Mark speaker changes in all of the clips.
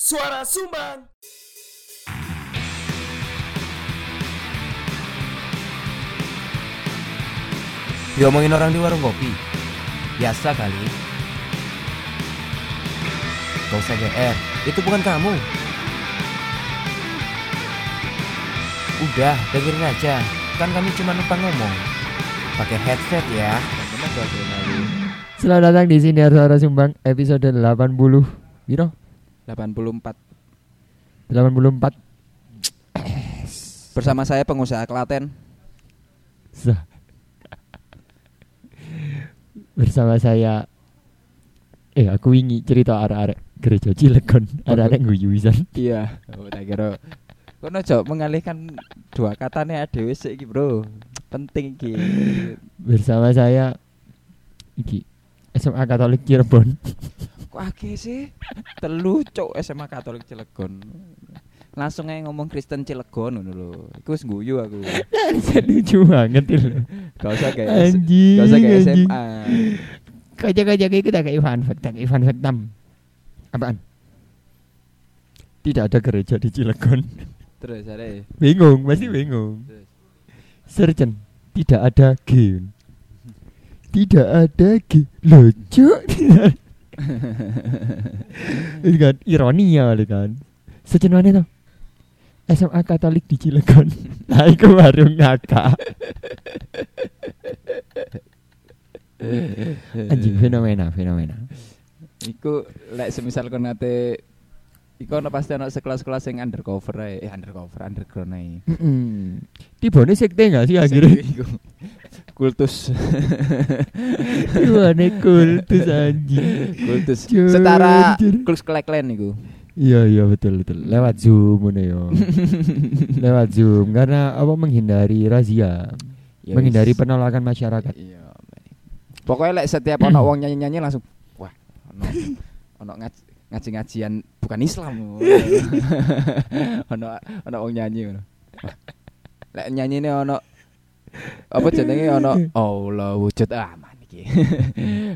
Speaker 1: Suara Sumbang.
Speaker 2: Diomongin orang di warung kopi Biasa kali Gak usah GR Itu bukan kamu Udah, dengerin aja Kan kami cuma lupa ngomong Pakai headset ya
Speaker 3: Selamat datang di sini Suara Sumbang episode 80 Biro
Speaker 4: 84
Speaker 3: 84
Speaker 4: Bersama saya pengusaha Klaten
Speaker 3: Zah. Bersama saya Eh aku ingin cerita arek-arek gereja Cilegon Arek-arek guyu pisan
Speaker 4: Iya Oh tak kira Kono jok mengalihkan dua katanya adewe sik iki bro Penting iki
Speaker 3: Bersama saya Iki SMA Katolik Cirebon
Speaker 4: Kok akeh sih Telu cok SMA Katolik Cilegon Langsung aja ngomong Kristen Cilegon ngono lho. Iku wis guyu aku.
Speaker 3: Anjir, Lucu banget itu
Speaker 4: Gak usah kayak
Speaker 3: Anjing
Speaker 4: Gak usah kayak
Speaker 3: anjing.
Speaker 4: SMA.
Speaker 3: Kocok-kocok itu tak kayak fun fact Tak kayak fun fact tam Apaan? Tidak ada gereja di Cilegon
Speaker 4: Terus ada
Speaker 3: bingung pasti bingung Serjen tidak ada G tidak ada G lucu ini kan ironia kali kan Serjen mana tuh SMA Katolik di Cilegon nah itu baru ngakak anjing fenomena fenomena
Speaker 4: Iku lek semisal kon nate Iku ono pasti ono sekelas-kelas yang undercover ae. Eh undercover, underground ae.
Speaker 3: Mm-mm. Tibone sekte gak sih akhirnya?
Speaker 4: Iku. Kultus.
Speaker 3: Tibone kultus anjing
Speaker 4: Kultus.
Speaker 3: Jujur.
Speaker 4: Setara Klux Klan Klan iku.
Speaker 3: Iya iya betul betul lewat zoom ngono ya. lewat zoom karena apa menghindari razia,
Speaker 4: Ya wis.
Speaker 3: menghindari penolakan masyarakat.
Speaker 4: Iya. Pokoknya lek setiap
Speaker 3: Hmm.
Speaker 4: ono wong nyanyi-nyanyi langsung wah, ono ono ngaj- ngaji-ngajian bukan Islam. ono ono wong nyanyi ngono. Wah, Lek nyanyine ono apa jenenge ono Allah wujud ah, aman iki.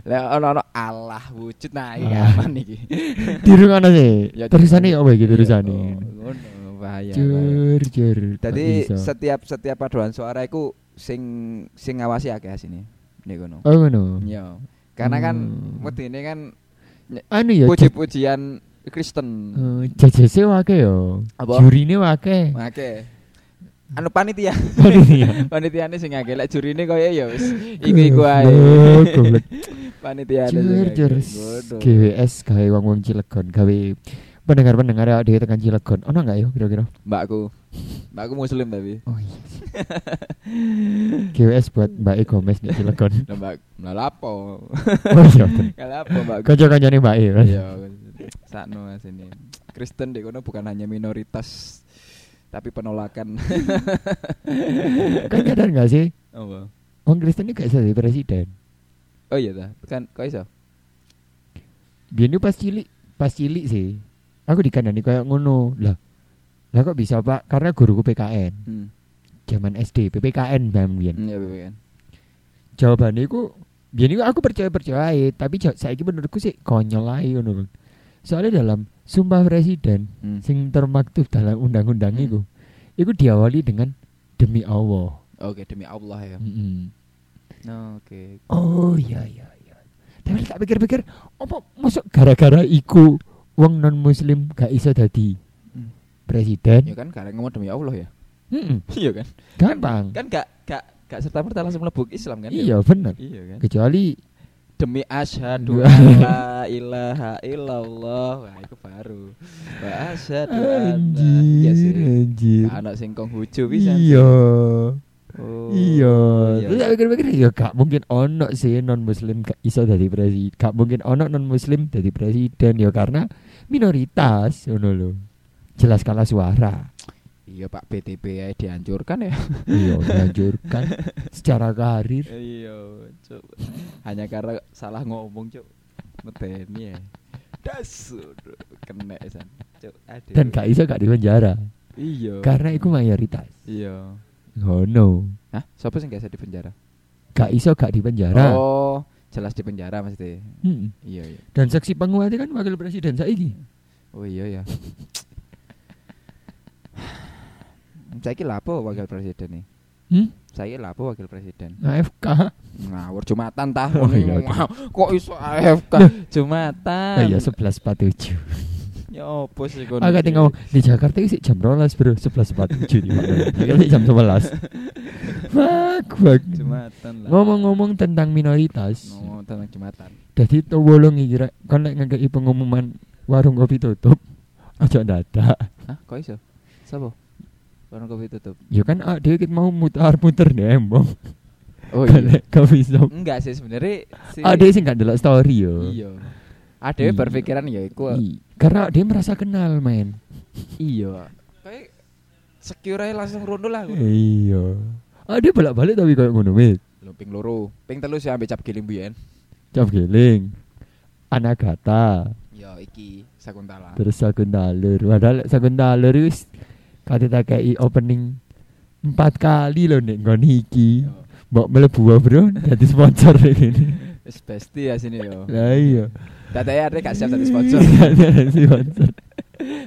Speaker 4: Lek ono ono Allah wujud nah iki
Speaker 3: Hmm. Ah.
Speaker 4: aman iki.
Speaker 3: Di ruang mana sih?
Speaker 4: Ya,
Speaker 3: Terusane apa iki
Speaker 4: Iya,
Speaker 3: terusane?
Speaker 4: oh, ngono, bahaya. bahaya.
Speaker 3: Jur jur.
Speaker 4: Tadi
Speaker 3: tak bisa.
Speaker 4: setiap setiap paduan suara iku sing sing ngawasi akeh sini. Nek ngono.
Speaker 3: Oh ngono.
Speaker 4: Iya. Karena kan
Speaker 3: Hmm.
Speaker 4: wedine kan
Speaker 3: Anu ya jaj-
Speaker 4: puji-pujian Kristen.
Speaker 3: eh, jajase wake yo.
Speaker 4: Apa?
Speaker 3: Jurine wake.
Speaker 4: Nah, Oke. Anu panitia,
Speaker 3: Panitia.
Speaker 4: panitiane sing akeh. Lek jurine koyo ya wis iku-iku ae.
Speaker 3: Goblok, goblok.
Speaker 4: Panitiane sing
Speaker 3: Jur
Speaker 4: akeh.
Speaker 3: jur.
Speaker 4: Ngono.
Speaker 3: GWS gawe wong-wong Cilegon, gawe pendengar-pendengar awake dhewe tekan Cilegon. Ono enggak yo kira-kira?
Speaker 4: Mbakku. Mbakku muslim tapi.
Speaker 3: Oh iya. GWS buat Mbak E Gomez di Cilegon.
Speaker 4: Lah mbak, lah lapo.
Speaker 3: Oh iya.
Speaker 4: Kalau apa mbakku?
Speaker 3: Kanca-kancane Mbak E. Mas.
Speaker 4: Iya, sakno mas ini. Kristen di kono bukan hanya minoritas tapi penolakan.
Speaker 3: Kan nyadar enggak sih?
Speaker 4: Oh,
Speaker 3: Orang Kristen ini gak bisa jadi presiden.
Speaker 4: oh iya ta, kan kok iso?
Speaker 3: Biar pas cilik, pas cilik sih. Aku dikandani kayak ngono. Lah. Lah kok bisa, Pak? Karena guruku PKN.
Speaker 4: Hmm.
Speaker 3: Zaman SD, PPKN Bang Bian.
Speaker 4: Iya, Bebe, kan.
Speaker 3: Jawabannya ku Biar aku percaya-percaya ae, tapi saya menurutku sih konyol ae ngono. lho. Soalnya dalam Sumpah Presiden
Speaker 4: Hmm.
Speaker 3: sing termaktub dalam undang-undang
Speaker 4: Hmm.
Speaker 3: itu itu diawali dengan demi Allah
Speaker 4: Oke, demi Allah ya.
Speaker 3: Mm-mm.
Speaker 4: No, Oke.
Speaker 3: oh iya iya iya tapi tak pikir-pikir apa masuk gara-gara iku wong non muslim gak iso dadi
Speaker 4: Hmm. Ya
Speaker 3: presiden
Speaker 4: kan karena ngomong demi Allah ya.
Speaker 3: Mm-mm.
Speaker 4: Iya kan?
Speaker 3: gampang
Speaker 4: Kan gak gak gak serta merta langsung mlebu Islam kan? ya?
Speaker 3: iya bener
Speaker 4: Iya kan?
Speaker 3: kecuali
Speaker 4: Demi
Speaker 3: Iya.
Speaker 4: asyhadu an la ilaha illallah. Wah, itu baru. Wa asyhadu anna. Iya sih.
Speaker 3: anjir anjir
Speaker 4: Anak sing kong hujo bisa.
Speaker 3: iya
Speaker 4: Oh.
Speaker 3: iya
Speaker 4: iya.
Speaker 3: terus tak pikir-pikir ya gak mungkin ono sih non muslim gak iso dadi presiden gak mungkin ono non muslim dadi presiden ya karena minoritas ngono lho jelas kalah suara
Speaker 4: Iya Pak BTP ya dihancurkan ya.
Speaker 3: Iya, dihancurkan secara karir.
Speaker 4: Iya, cuk. Hanya karena salah ngomong, cuk. Medeni ya. Das aduh, kena san. Cuk, aduh.
Speaker 3: Dan gak iso gak dipenjara
Speaker 4: Iya.
Speaker 3: Karena iku mayoritas
Speaker 4: Iya.
Speaker 3: Oh no
Speaker 4: Hah, siapa sih gak bisa di penjara?
Speaker 3: Gak iso gak dipenjara Hmm.
Speaker 4: Oh, jelas di penjara maksudnya.
Speaker 3: Mm-mm.
Speaker 4: Iya, iya.
Speaker 3: Dan saksi penguatnya kan wakil presiden saiki
Speaker 4: Oh iya ya. Saiki lapo wakil presiden nih?
Speaker 3: Hmm?
Speaker 4: Saya lapo wakil presiden.
Speaker 3: AFK.
Speaker 4: Ngawur Jumatan tah.
Speaker 3: Oh iya,
Speaker 4: Wah, Kok iso AFK
Speaker 3: Oh
Speaker 4: Jumatan?
Speaker 3: iya 11.47.
Speaker 4: Ya opo sih kono.
Speaker 3: Agak tinggal ngomong, di Jakarta sih jam 12, Bro. 11.47 di mana. Iki sih jam 11. Wah, gua.
Speaker 4: Jumatan lah.
Speaker 3: Ngomong-ngomong tentang minoritas.
Speaker 4: Ngomong tentang Jumatan.
Speaker 3: Jadi tuh bolong iki rek. kon lek ngekeki pengumuman warung kopi tutup. Ojo dadak.
Speaker 4: Hah, kok iso? Sopo? Warung kopi tutup.
Speaker 3: Ya kan ah, dhewe ket mau mutar-muter nembong.
Speaker 4: Oh
Speaker 3: Golek kopi shop.
Speaker 4: Enggak sih sebenarnya si
Speaker 3: Ah, dhewe sing gak ndelok story yo.
Speaker 4: Iya. Ade
Speaker 3: Iya.
Speaker 4: Ah, berpikiran ya iku.
Speaker 3: I- Karena dia merasa kenal, men.
Speaker 4: Iya. Kayak secure aja langsung rondo lah.
Speaker 3: Iya. Ah, dia bolak-balik tapi kayak ngono, wit.
Speaker 4: Lho ping loro. Ping telu sih ambek cap giling biyen.
Speaker 3: Cap geling. Anagata,
Speaker 4: Ya iki Sakuntala.
Speaker 3: terus Sagundaler. Padahal Sagundaler wis kate tak kei opening empat kali loh nek nggon iki.
Speaker 4: Yo,
Speaker 3: Mbok mlebu wae, Bro, jadi sponsor ini.
Speaker 4: Wis besti ya sini yo.
Speaker 3: Lah iya.
Speaker 4: Dadaya arek gak siap dadi sponsor.
Speaker 3: Jadi sponsor.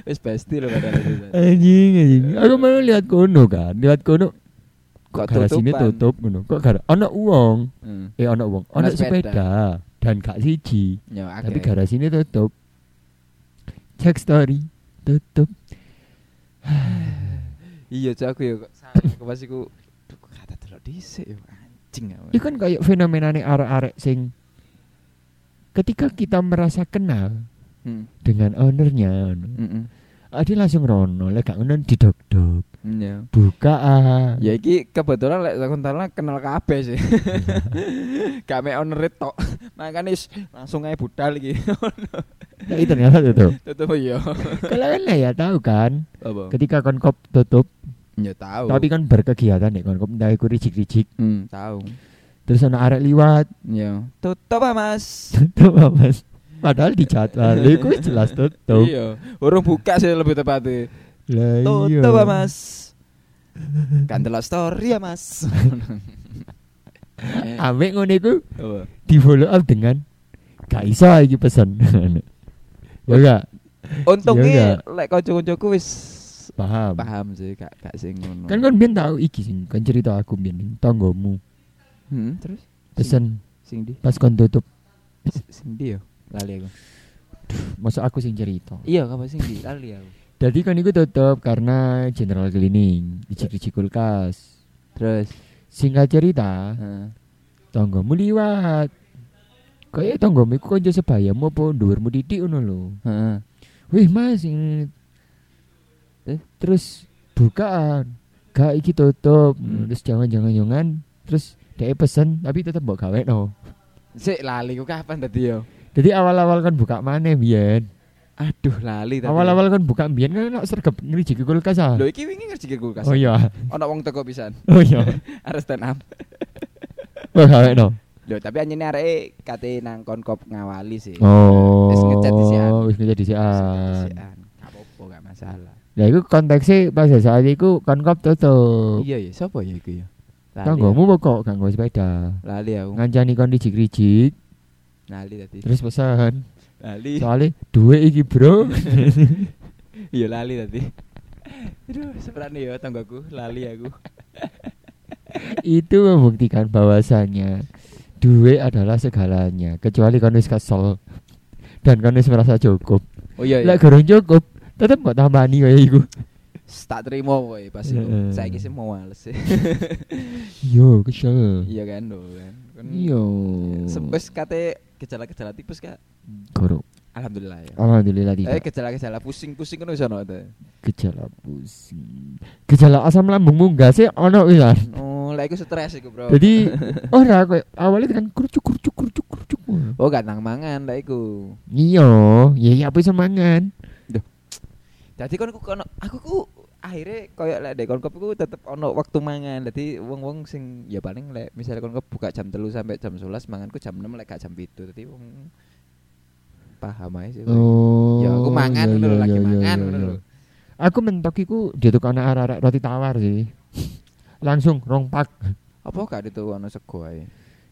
Speaker 4: Wis besti lho padahal. itu.
Speaker 3: Anjing, anjing. Aku mau lihat kono kan, lihat kono kok
Speaker 4: Kok
Speaker 3: garasine
Speaker 4: tutupan?
Speaker 3: tutup ngono. Kok gara ana uang,
Speaker 4: Hmm.
Speaker 3: eh ana uang,
Speaker 4: Ana
Speaker 3: ana
Speaker 4: sepeda.
Speaker 3: sepeda dan gak siji.
Speaker 4: Ya
Speaker 3: Tapi
Speaker 4: akeh.
Speaker 3: garasinya tutup. Cek story tutup.
Speaker 4: Iya cok aku yo kok salah aku pas iku Duh, kok kata delok dhisik yo anjing. aku.
Speaker 3: Itu kan kayak fenomena nih arek-arek sing ketika kita merasa kenal
Speaker 4: Hmm.
Speaker 3: dengan ownernya, no,
Speaker 4: Mm-mm.
Speaker 3: ah, dia langsung rono, lek gak ngono didok-dok,
Speaker 4: Hmm, Ya.
Speaker 3: buka ah.
Speaker 4: Ya iki kebetulan lek Sakuntala kenal kabeh sih. Gak mek owner tok. Makane is, langsung ae budal iki.
Speaker 3: Tapi Nah, ternyata tutup.
Speaker 4: Tutup yo.
Speaker 3: Kalau kan lah ya tahu kan,
Speaker 4: Apa?
Speaker 3: ketika konkop tutup,
Speaker 4: Ya tahu.
Speaker 3: tapi kan berkegiatan nih konkop dari kuri rijik
Speaker 4: hmm, tahu.
Speaker 3: terus anak arek liwat,
Speaker 4: Ya. Tutup ah, Mas.
Speaker 3: tutup ah, mas. Padahal dijadwal, itu jelas tutup.
Speaker 4: Iya, urung buka sih lebih tepatnya.
Speaker 3: Lah iya.
Speaker 4: Tutup ah, Mas. Kan delok story ya, Mas.
Speaker 3: Ambek ngono iku
Speaker 4: Apa?
Speaker 3: di follow up dengan gak iso iki pesen ya gak
Speaker 4: Untungnya
Speaker 3: Iya
Speaker 4: lek kanca-kancaku wis
Speaker 3: paham
Speaker 4: paham sih, gak gak sing ngono.
Speaker 3: kan kan bian tau iki sing kan cerita aku bian ning tanggomu
Speaker 4: Hmm, terus
Speaker 3: pesen
Speaker 4: sing di
Speaker 3: pas kon tutup
Speaker 4: sing
Speaker 3: ya?
Speaker 4: di yo. Lali aku.
Speaker 3: masa aku sing cerita
Speaker 4: Iya, kapan sing di? Lali aku.
Speaker 3: jadi kan iku tutup karena general cleaning dicuci kulkas
Speaker 4: Terus,
Speaker 3: singkat cerita
Speaker 4: heeh.
Speaker 3: tanggomu liwat Kaya tanggomu iku kan kanca sebayamu apa dhuwurmu titik ngono lho
Speaker 4: heeh.
Speaker 3: Wih mas ini-
Speaker 4: Eh?
Speaker 3: Terus bukaan Gak iki tutup
Speaker 4: Hmm.
Speaker 3: Terus jangan-jangan jangan Terus dia pesen tapi tetep mbok gawe no
Speaker 4: Sik lali ku kapan tadi yo?
Speaker 3: Jadi awal-awal kan buka mana Bien
Speaker 4: Aduh, lali tadi.
Speaker 3: Awal-awal kan buka Bien kan enak sergap ngerijiki kulkas ah
Speaker 4: Lho iki wingi ngerjikir iya, kulkas.
Speaker 3: Oh iya
Speaker 4: Ono wong teko pisan.
Speaker 3: Oh iya
Speaker 4: Arep stand up.
Speaker 3: Mbok gawe no
Speaker 4: Lho, tapi anjene areke kate nang konkop ngawali sih.
Speaker 3: Oh
Speaker 4: Wis ngechat disian.
Speaker 3: Wis ngechat disian.
Speaker 4: Sian. Gak apa-apa, gak masalah.
Speaker 3: Nah itu konteksnya pas saat itu konkop tutup
Speaker 4: Iya ya, sapa ya iku ya?
Speaker 3: Tanggomu pokok gak nggawe sepeda
Speaker 4: Lali aku.
Speaker 3: Ngancani kon rijik-rijik
Speaker 4: Lali tadi.
Speaker 3: Terus pesen
Speaker 4: Lali.
Speaker 3: soalnya dua iki bro
Speaker 4: Iya lali tadi. Aduh, seberani ya tanggaku, lali aku.
Speaker 3: itu membuktikan bahwasannya duit adalah segalanya kecuali kon wis kesel dan kon wis merasa cukup
Speaker 4: Oh iya
Speaker 3: lek gorong cukup tetep kok tambani kaya iku
Speaker 4: Tak terima woy pas iku.
Speaker 3: Heeh.
Speaker 4: Saiki sih mau males sih.
Speaker 3: yo kesel
Speaker 4: Iya kan lho kan. Kan
Speaker 3: yo
Speaker 4: Sebes kate gejala-gejala tipes kak.
Speaker 3: gorong
Speaker 4: Alhamdulillah ya.
Speaker 3: Oh, alhamdulillah
Speaker 4: Eh
Speaker 3: tidak
Speaker 4: gejala-gejala pusing-pusing kan bisa nonton.
Speaker 3: gejala pusing gejala asam lambung munggah sih ono wisan
Speaker 4: Oh, lah iku stres iku, Bro.
Speaker 3: jadi ora koyo awalnya kan kurcuk kurcuk kurcuk kurcuk
Speaker 4: oh gak nang mangan lah iku.
Speaker 3: iya ya ya apa semangan
Speaker 4: Dadi kon ku kono aku ku akhirnya koyo lek dek konkop ku tetep ono waktu mangan. Dadi wong-wong sing ya paling lek misalnya konkop buka jam 3 sampai jam 11 manganku jam 6 lek gak jam 7. Dadi wong paham ae sih.
Speaker 3: Oh.
Speaker 4: ya aku mangan
Speaker 3: iya,
Speaker 4: ngono lho,
Speaker 3: iya,
Speaker 4: lagi
Speaker 3: iya,
Speaker 4: mangan
Speaker 3: iya,
Speaker 4: ngono
Speaker 3: iya.
Speaker 4: lho.
Speaker 3: Aku mentok iku ditukar arek-arek roti tawar sih. Langsung rong pak.
Speaker 4: Apa gak itu ono sego ae.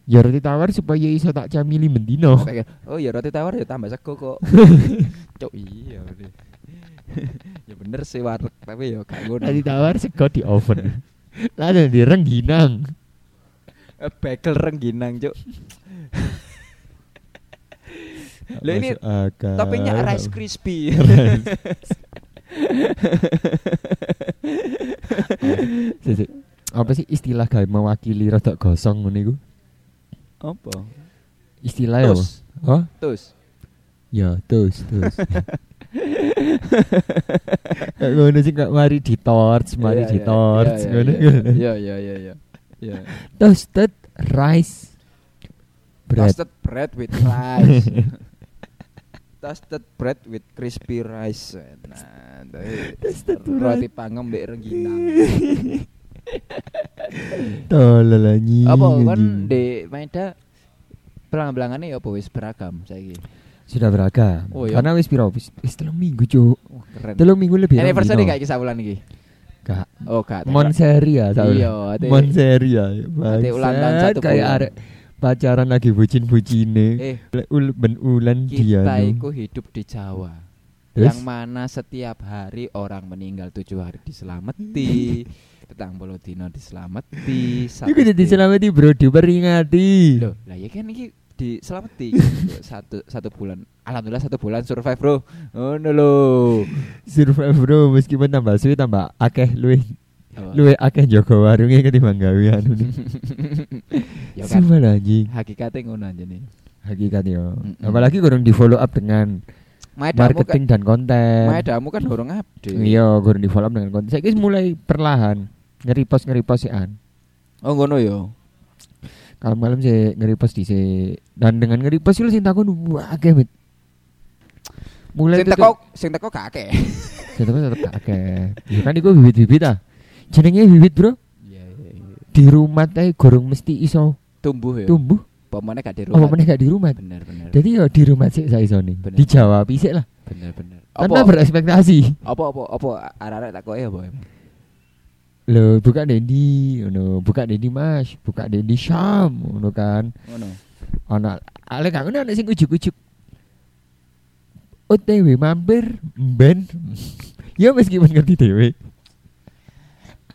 Speaker 3: Ya roti tawar supaya iso tak camili mendino.
Speaker 4: gitu. Oh, Kayak, Oh ya roti tawar ya tambah sego kok. Cok iya. bener. ya bener sih warteg tapi ya gak ngono.
Speaker 3: Nanti tawar sego di oven. Lalu di rengginang.
Speaker 4: Eh, Bagel rengginang, Cuk. Lah ini Toppingnya Rice Crispy.
Speaker 3: Sik, sik. Apa sih istilah gawe mewakili rada gosong ngene iku?
Speaker 4: Apa?
Speaker 3: Istilah ya.
Speaker 4: Tos.
Speaker 3: apa? Oh,
Speaker 4: Tus.
Speaker 3: ya terus terus. Kayak ngono sih gak mari di torch, mari
Speaker 4: Iya,
Speaker 3: di
Speaker 4: iya,
Speaker 3: torch.
Speaker 4: iya,
Speaker 3: ngono.
Speaker 4: iya, Iya iya iya iya. Iya.
Speaker 3: Toasted rice bread.
Speaker 4: Toasted bread with rice. Toasted bread with crispy rice. Nah, dari
Speaker 3: Toasted
Speaker 4: roti
Speaker 3: bread.
Speaker 4: panggang mbek rengginang.
Speaker 3: Tolol anjing.
Speaker 4: Apa kan
Speaker 3: anjing.
Speaker 4: di Maeda belang-belangannya ya apa wis beragam saiki.
Speaker 3: sudah beragam.
Speaker 4: Oh, iya.
Speaker 3: Karena wis piro wis, wis telung minggu, Cuk.
Speaker 4: Wah, keren.
Speaker 3: Telung minggu lebih. rong
Speaker 4: Anniversary
Speaker 3: dino.
Speaker 4: gak kisah bulan iki.
Speaker 3: Gak.
Speaker 4: Oh, gak.
Speaker 3: Monseri ya, tau.
Speaker 4: Iya, ate-
Speaker 3: Monseri ya.
Speaker 4: ate ulang tahun
Speaker 3: Bangsat,
Speaker 4: satu
Speaker 3: kayak
Speaker 4: bulan.
Speaker 3: arek pacaran lagi bucin-bucine.
Speaker 4: Eh,
Speaker 3: Lek ul ben ulan dia.
Speaker 4: kita
Speaker 3: nu.
Speaker 4: itu hidup di Jawa.
Speaker 3: Terus?
Speaker 4: Yang mana setiap hari orang meninggal tujuh hari diselamati, petang puluh dino diselamati,
Speaker 3: Iku jadi selamati bro diperingati.
Speaker 4: Loh, lah ya kan ini diselamati satu satu bulan. Alhamdulillah satu bulan survive bro. Oh no lo.
Speaker 3: Survive bro meskipun tambah suwe tambah akeh luwih luwih akeh jaga warunge ketimbang gawe anu. nih.
Speaker 4: ya kan.
Speaker 3: Sumpah lah, anjing.
Speaker 4: Hakikatnya ngono aja nih.
Speaker 3: Hakikat yo.
Speaker 4: Mm-mm.
Speaker 3: Apalagi kurang di follow up dengan
Speaker 4: Maedamu kan,
Speaker 3: marketing dan konten.
Speaker 4: maedamu kan orang update.
Speaker 3: Iya, kurang di follow up dengan konten. Saiki mulai perlahan nge-repost nge-repost sih, an.
Speaker 4: Oh ngono yo.
Speaker 3: Kalau malam sih nge-repost di dan dengan nge-repost itu sing takon wah akeh bet.
Speaker 4: Sing
Speaker 3: Mulai itu
Speaker 4: teko, sing teko gak akeh.
Speaker 3: tetep tetep akeh. Ya kan iku bibit-bibit ah. Jenenge bibit, Bro.
Speaker 4: Iya iya. iya.
Speaker 3: Di rumah teh gorong mesti iso
Speaker 4: Tumbuh ya.
Speaker 3: tumbuh.
Speaker 4: Pemane gak di
Speaker 3: Apa
Speaker 4: rumah.
Speaker 3: meneh gak di rumah?
Speaker 4: Bener bener.
Speaker 3: Jadi ya di rumah sih saya iso nih.
Speaker 4: Bener.
Speaker 3: Dijawab isik lah.
Speaker 4: Bener bener.
Speaker 3: Tanpa Kan berekspektasi.
Speaker 4: apa apa apa arek-arek tak ya, koe apa emang?
Speaker 3: Loh, buka Dendi, ngono, buka Dendi Mas, buka Dendi Syam, ngono kan.
Speaker 4: Ngono.
Speaker 3: Ana ale gak ngono ana sing ujuk-ujuk. OTW mampir ben. ya meskipun ngerti dhewe.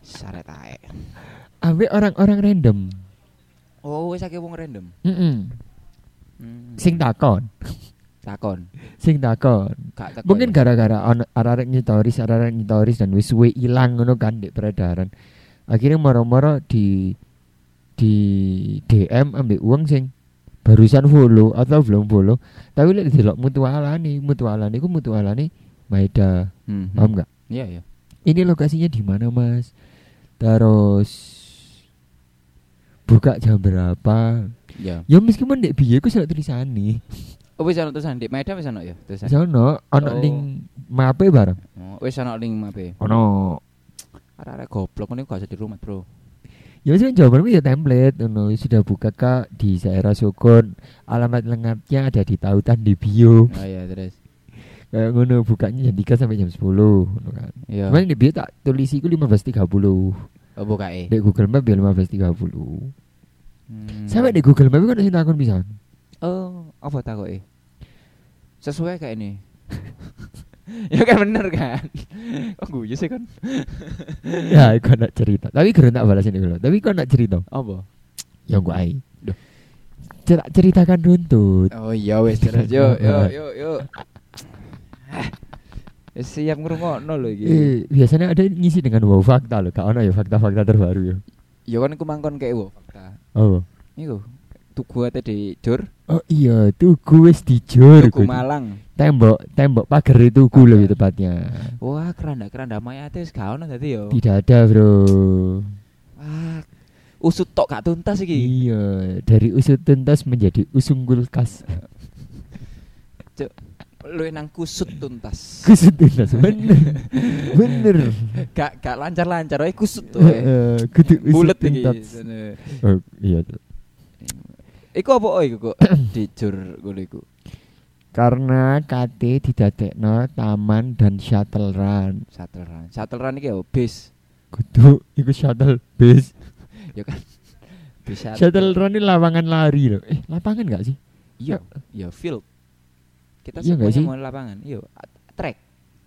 Speaker 4: Saret ae.
Speaker 3: Ambek orang-orang random.
Speaker 4: Oh, wis akeh wong random.
Speaker 3: Mm-mm.
Speaker 4: Hmm.
Speaker 3: Sing takon,
Speaker 4: takon.
Speaker 3: sing takon.
Speaker 4: Gak ya? takon.
Speaker 3: Mungkin gara-gara ana arek nyitoris, arek nyitoris dan wis suwe ilang ngono kan dek peredaran. Akhirnya moro-moro di di DM ambek uang sing barusan follow atau belum follow tapi lek delok mutualane mutualane iku mutualane Maeda
Speaker 4: Hmm, hmm.
Speaker 3: paham gak
Speaker 4: Iya, iya.
Speaker 3: ini lokasinya di mana Mas terus buka jam berapa
Speaker 4: Iya.
Speaker 3: ya meskipun dek biye ku selok tulisane
Speaker 4: Oh, wis ana tulisan Dik Maeda wis ana ya tulisan.
Speaker 3: sono ana
Speaker 4: Oh.
Speaker 3: ning mape bareng
Speaker 4: Oh, wis ana link mape.
Speaker 3: ono
Speaker 4: Arek-arek goblok ngene gak usah di rumah, Bro.
Speaker 3: Ya wis jawabanmu ya template ngono sudah buka Kak di daerah Sukun. Alamat lengkapnya ada di tautan di bio.
Speaker 4: Oh iya, terus.
Speaker 3: Kayak ngono bukanya jam 3 sampai jam 10 ngono kan.
Speaker 4: Iya.
Speaker 3: Cuman di bio tak tulis iku 15.30.
Speaker 4: Oh, bukae.
Speaker 3: Di Google Map ya 15.30.
Speaker 4: Hmm.
Speaker 3: Sampai di Google Map iku ono sing takon pisan.
Speaker 4: Oh, apa takoke? Sesuai kayak ini. ya kan bener kan. Kok guyu sih kan?
Speaker 3: Ya, iku nak cerita. Tapi gerun tak balasin iku lho. Tapi kok nak cerita?
Speaker 4: Apa?
Speaker 3: Ya gua ai.
Speaker 4: Duh.
Speaker 3: Cerak ceritakan runtut.
Speaker 4: Oh iya wis terus yo yo yo yo. Wis siap ngrungokno lho iki.
Speaker 3: Eh, biasanya ada ngisi dengan wow fakta lho. Kak ono ya fakta-fakta terbaru ya.
Speaker 4: Ya kan aku mangkon kayak wo fakta.
Speaker 3: Oh.
Speaker 4: Iku tuku ate di jur,
Speaker 3: Oh iya, tugu wis dijur.
Speaker 4: tuku
Speaker 3: kudu.
Speaker 4: Malang.
Speaker 3: tembok tembok pagar itu gue
Speaker 4: Pagar. Oh.
Speaker 3: lebih tepatnya
Speaker 4: Wah, keranda-keranda mayate wis gak ono dadi yo.
Speaker 3: tidak ada bro
Speaker 4: Wah, Ah. usut tok gak tuntas iki.
Speaker 3: iya dari usut tuntas menjadi usung kulkas
Speaker 4: Lu nang kusut tuntas. Eh,
Speaker 3: usut tuntas bener bener
Speaker 4: Gak gak lancar-lancar wae kusut to.
Speaker 3: Heeh, kudu usut
Speaker 4: eh. Bulet iki.
Speaker 3: tuntas oh, iya
Speaker 4: Iku apa oh, iku kok di jur ngono iku.
Speaker 3: karena KT didadekno taman dan shuttle run
Speaker 4: Shuttle run. Shuttle run iki yo bis.
Speaker 3: kudu ikut shuttle bus
Speaker 4: Ya kan. Bis
Speaker 3: shuttle run ini lapangan lari loh eh lapangan gak sih
Speaker 4: Iya, ya field. Kita
Speaker 3: Iya
Speaker 4: semuanya
Speaker 3: nggak sih?
Speaker 4: mau lapangan. Iya, a- track.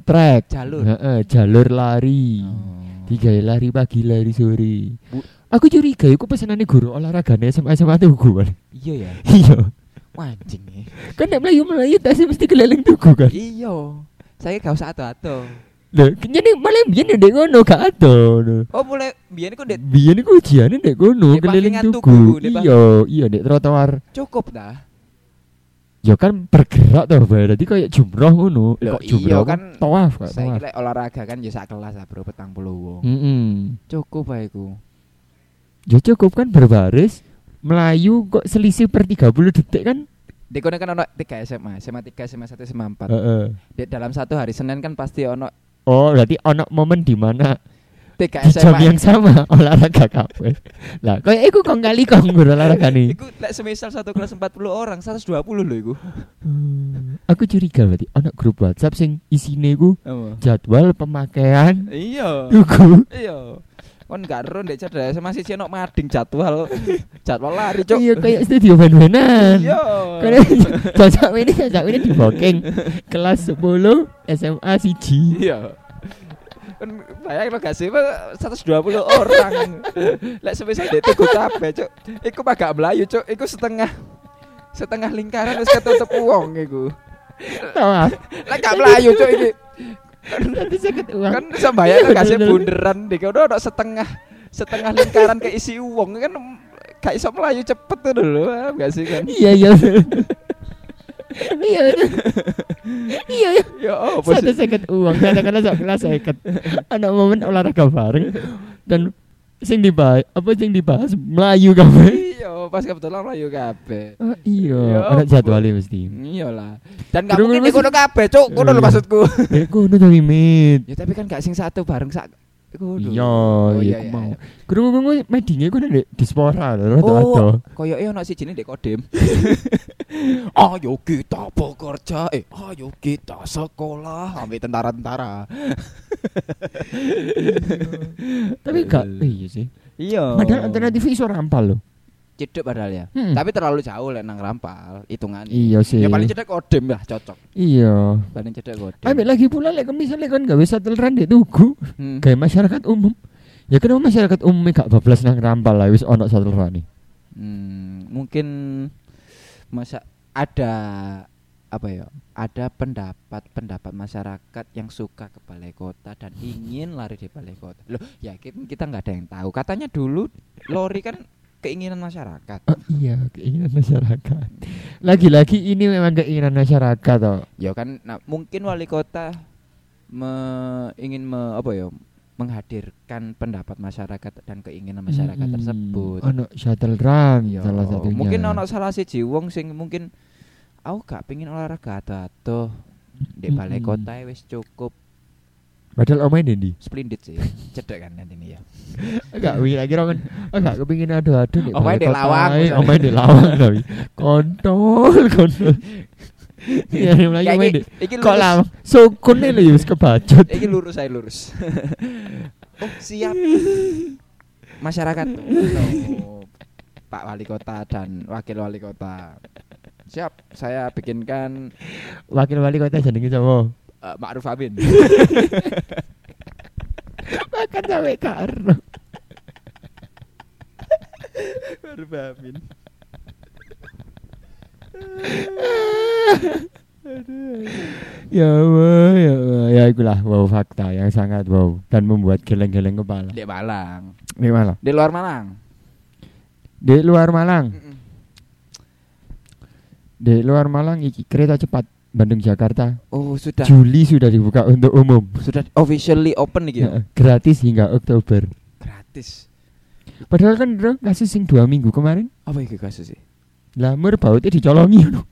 Speaker 3: track
Speaker 4: Jalur. Oh.
Speaker 3: Heeh, jalur lari tiga lari pagi lari sore
Speaker 4: Bu-
Speaker 3: aku curiga iku pesenane guru olahraga nih SMA SMA tugu kan
Speaker 4: Iya ya.
Speaker 3: iya
Speaker 4: Anjing ya.
Speaker 3: kan nek melayu melayu tasnya mesti keliling tugu kan
Speaker 4: Iya. Saya gak usah ato-ato.
Speaker 3: lho kenyane malah biyen ndek ngono gak ado no.
Speaker 4: Oh mulai biyen kok ndek
Speaker 3: biyen iku ujiane ndek kono
Speaker 4: Ndek
Speaker 3: keliling
Speaker 4: pangkingan
Speaker 3: tugu
Speaker 4: tugu, ndek
Speaker 3: iya iya ndek trotoar
Speaker 4: cukup dah.
Speaker 3: ya kan bergerak toh berarti kayak jumroh ngono
Speaker 4: Loh,
Speaker 3: kok
Speaker 4: iya
Speaker 3: jumroh
Speaker 4: kan.
Speaker 3: tawaf kok
Speaker 4: Saya
Speaker 3: tawaf
Speaker 4: kira olahraga kan ya sak kelas lah bro petang puluh wong.
Speaker 3: Mm-mm.
Speaker 4: Cukup ae iku.
Speaker 3: Ya cukup kan berbaris Melayu kok selisih per 30 detik kan
Speaker 4: Dek kono kan ono 3 SMA, SMA 3, SMA 1, SMA 4.
Speaker 3: Heeh.
Speaker 4: Dek dalam satu hari Senin kan pasti ono
Speaker 3: Oh berarti ono momen di mana di
Speaker 4: 3
Speaker 3: jam
Speaker 4: SMA.
Speaker 3: yang sama olahraga kabeh Lah kayak iku kok kali kok nggur olahraga nih
Speaker 4: Iku lek semisal satu kelas 40 orang, 120 lho iku.
Speaker 3: Hmm, Aku curiga berarti ono grup whatsapp sing isine iku
Speaker 4: Apa?
Speaker 3: jadwal pemakaian
Speaker 4: Iya.
Speaker 3: tugu
Speaker 4: Iya. Kon gak ero ndek cerdas masih jenok mading jadwal. jadwal lari, Cuk.
Speaker 3: Iya kayak studio ben-benan
Speaker 4: Iya.
Speaker 3: Karena cocok ini cocok ini di booking kelas 10 SMA siji
Speaker 4: Iya. Kan bayang lo gak sih Pak, 120 orang. Lek semisal ndek tuku kabeh, Cuk. Iku mah gak melayu, Cuk. Iku setengah setengah lingkaran wis ketutup wong iku.
Speaker 3: Tawaf
Speaker 4: Lek gak melayu, Cuk iki.
Speaker 3: ah, Nanti saya ketua
Speaker 4: kan bisa bayang
Speaker 3: Iya,
Speaker 4: gak sih
Speaker 3: bener.
Speaker 4: bunderan deh kalau ada setengah setengah lingkaran keisi uang kan gak iso melayu cepet tuh dulu paham gak sih kan
Speaker 3: Iya iya. Iya. bener. Iya iya.
Speaker 4: ya apa
Speaker 3: Satu
Speaker 4: sih
Speaker 3: seket uang, katakanlah sak kelas seket. Anak momen olahraga bareng dan sing dibahas apa sing dibahas Melayu kabeh.
Speaker 4: iya pas kebetulan melayu kabeh
Speaker 3: Oh,
Speaker 4: Ya
Speaker 3: iya, ana
Speaker 4: ampun.
Speaker 3: jadwalnya mesti.
Speaker 4: iyalah dan gak
Speaker 3: Terus
Speaker 4: mungkin
Speaker 3: terus-
Speaker 4: dikono kabeh cuk kono lho
Speaker 3: Iya.
Speaker 4: maksudku
Speaker 3: Ya kono to limit.
Speaker 4: ya tapi kan gak sing satu bareng sak Iku dulu.
Speaker 3: Iya,
Speaker 4: Oh,
Speaker 3: iya ku mau. Guru guru medinge kono ndek dispora lho rada-rada.
Speaker 4: Oh, koyoknya ono si jenis kodem. ayo kita bekerja, eh, ayo kita sekolah, ambil tentara-tentara.
Speaker 3: Tapi gak iya sih.
Speaker 4: Iya.
Speaker 3: Padahal alternatif iso rampal lho.
Speaker 4: cedek padahal ya.
Speaker 3: Hmm.
Speaker 4: Tapi terlalu jauh lek nang rampal hitungan.
Speaker 3: Iya sih.
Speaker 4: Ya paling cedek kodem lah cocok.
Speaker 3: Iya.
Speaker 4: Paling cedek kodem.
Speaker 3: Ambil lagi pula lek misalnya kan gawe shuttle run ndek tugu.
Speaker 4: Hmm.
Speaker 3: kayak masyarakat umum ya kenapa masyarakat umum gak bablas nang rampal lah wis ono satu rani
Speaker 4: Hmm, mungkin masa ada apa ya? Ada pendapat-pendapat masyarakat yang suka ke balai kota dan ingin lari di balai kota. Loh, yakin kita nggak ada yang tahu. Katanya dulu lori kan keinginan masyarakat.
Speaker 3: oh, iya keinginan masyarakat lagi-lagi ini memang keinginan masyarakat toh
Speaker 4: Ya kan nah, mungkin wali kota me- ingin me- apa ya menghadirkan pendapat masyarakat dan keinginan masyarakat
Speaker 3: Mm-mm.
Speaker 4: tersebut.
Speaker 3: ono shuttle run
Speaker 4: Yo,
Speaker 3: salah satunya
Speaker 4: Iya. Mungkin ono salah siji wong sing mungkin aku gak pengin olahraga atau di balai
Speaker 3: Mm-mm.
Speaker 4: kota ya wis cukup
Speaker 3: padahal omain ndi
Speaker 4: splendid sih cedek kan nanti ini ya
Speaker 3: enggak wi lagi kan enggak kepengin adu-adu nek
Speaker 4: Omain di lawang, misalnya.
Speaker 3: omain di lawang tapi kontol kontol ya lagi
Speaker 4: Ya,
Speaker 3: omain di
Speaker 4: iki, iki
Speaker 3: kok
Speaker 4: lurus
Speaker 3: lawang sukun lho wis kebajut
Speaker 4: iki lurus saya lurus oh siap masyarakat No. Pak Wali Kota dan Wakil Wali Kota siap saya bikinkan
Speaker 3: wakil wali kota jenenge sapa
Speaker 4: eh, Ma'ruf Amin
Speaker 3: makan sampe karo
Speaker 4: Ma'ruf Amin
Speaker 3: Ya Allah, ya Allah. Ya itulah wow fakta yang sangat wow dan membuat geleng-geleng kepala.
Speaker 4: di Malang
Speaker 3: Di Malang.
Speaker 4: di luar Malang
Speaker 3: Di luar Malang.
Speaker 4: Mm-mm.
Speaker 3: Di luar Malang iki kereta cepat Bandung Jakarta.
Speaker 4: oh sudah
Speaker 3: Juli sudah dibuka untuk umum.
Speaker 4: sudah officially open nih
Speaker 3: Ya, gratis hingga Oktober.
Speaker 4: gratis
Speaker 3: Padahal kan bro, kasus sing dua minggu kemarin
Speaker 4: apa iki kasus sih
Speaker 3: lamur bautnya dicolongi
Speaker 4: lo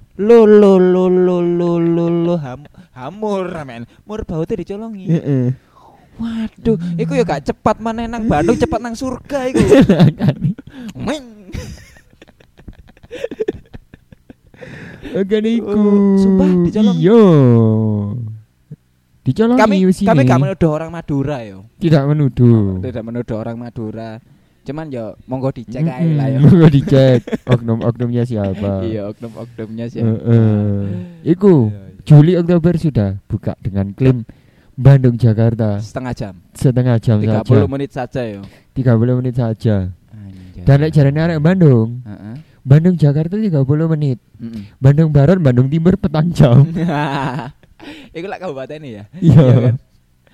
Speaker 4: lo lo lo lo lo lo ham hamur men mur bautnya dicolongi
Speaker 3: Heeh.
Speaker 4: waduh iku ya gak cepat mana nang Bandung cepat nang surga iku men
Speaker 3: Oke niku.
Speaker 4: Oh, sumpah, dicolongi.
Speaker 3: Iya. Dicolongi
Speaker 4: kami
Speaker 3: wis
Speaker 4: kami
Speaker 3: ini.
Speaker 4: gak menuduh orang Madura yo
Speaker 3: tidak menuduh.
Speaker 4: tidak menuduh orang Madura cuman yo monggo dicek
Speaker 3: Mm-mm.
Speaker 4: aja lah yo
Speaker 3: Monggo dicek oknum-oknumnya
Speaker 4: ya.
Speaker 3: siapa.
Speaker 4: iya oknum
Speaker 3: Hmm.
Speaker 4: oknumnya sih
Speaker 3: Heeh. Iku Juli Oktober sudah buka dengan klaim Bandung Jakarta
Speaker 4: setengah jam
Speaker 3: setengah jam
Speaker 4: 30
Speaker 3: saja
Speaker 4: menit Iya. saja yo
Speaker 3: 30 menit saja dan nek jarane arek Bandung
Speaker 4: Heeh. Hmm.
Speaker 3: Bandung Jakarta 30 menit
Speaker 4: Mm-mm.
Speaker 3: Bandung Barat Bandung Timur petang jam
Speaker 4: Iku lak kabupaten ya. Iya
Speaker 3: iya
Speaker 4: kan?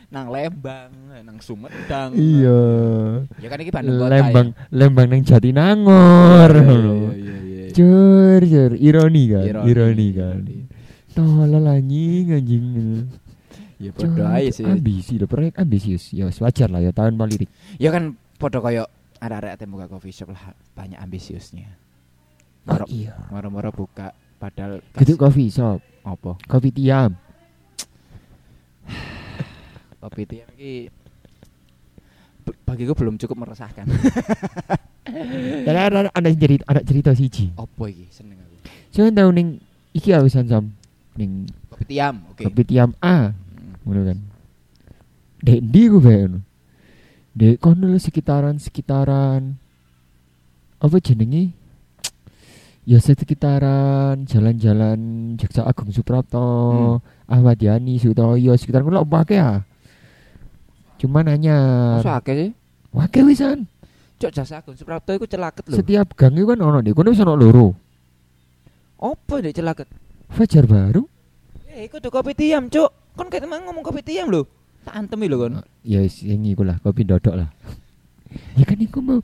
Speaker 4: Nang Lembang, nang Sumedang.
Speaker 3: iya
Speaker 4: Ya kan iki Bandung kota.
Speaker 3: Lembang
Speaker 4: ya.
Speaker 3: Lembang nang Jatinangor
Speaker 4: Iya,
Speaker 3: ngono.
Speaker 4: Iya iya iya. iya.
Speaker 3: Jur, jur, ironi kan, ironi, kan.
Speaker 4: ironi.
Speaker 3: Tolol anjing, anjing.
Speaker 4: Ya podo ae sih.
Speaker 3: Ambisi loh, proyek ambisius. Ya wis, wajar lah ya tahun politik.
Speaker 4: Ya kan podo koyo arek-arek temu buka coffee shop lah banyak ambisiusnya.
Speaker 3: Oh,
Speaker 4: Moro-
Speaker 3: iya.
Speaker 4: Moro-moro buka padahal
Speaker 3: Gitu coffee shop,
Speaker 4: opo?
Speaker 3: kopi tiam.
Speaker 4: Kopi tiam iki b- bagiku belum cukup meresahkan. Eh.
Speaker 3: Dan ada ada cerita, ada cerita siji.
Speaker 4: opo iki seneng aku.
Speaker 3: Soalnya tahu ning iki awisan sam ning
Speaker 4: Kopi tiam, oke.
Speaker 3: kopi tiam A,
Speaker 4: Mm.
Speaker 3: ngono kan. Dek ndi ku bae ngono. Dek kon dulu sekitaran-sekitaran apa jenenge? Ya sekitaran jalan-jalan Jaksa Agung
Speaker 4: Hmm.
Speaker 3: Suprapto, Ahmad Yani, Sutoyo, sekitar kulo pake ya. Cuman hanya
Speaker 4: Masa akeh sih?
Speaker 3: Wake wisan.
Speaker 4: Cok jasa Agung Suprapto iku celaket lho.
Speaker 3: Setiap gang itu kan ono deh, kono wis ono loro.
Speaker 4: Opo ndek celaket?
Speaker 3: Fajar baru.
Speaker 4: Eh, iku tuh kopi tiam, Cuk. Kon kayak teman ngomong kopi tiam lho. Tak antemi lho kon.
Speaker 3: Ya wis sing iku lah, kopi dodok lah. ya kan iku mau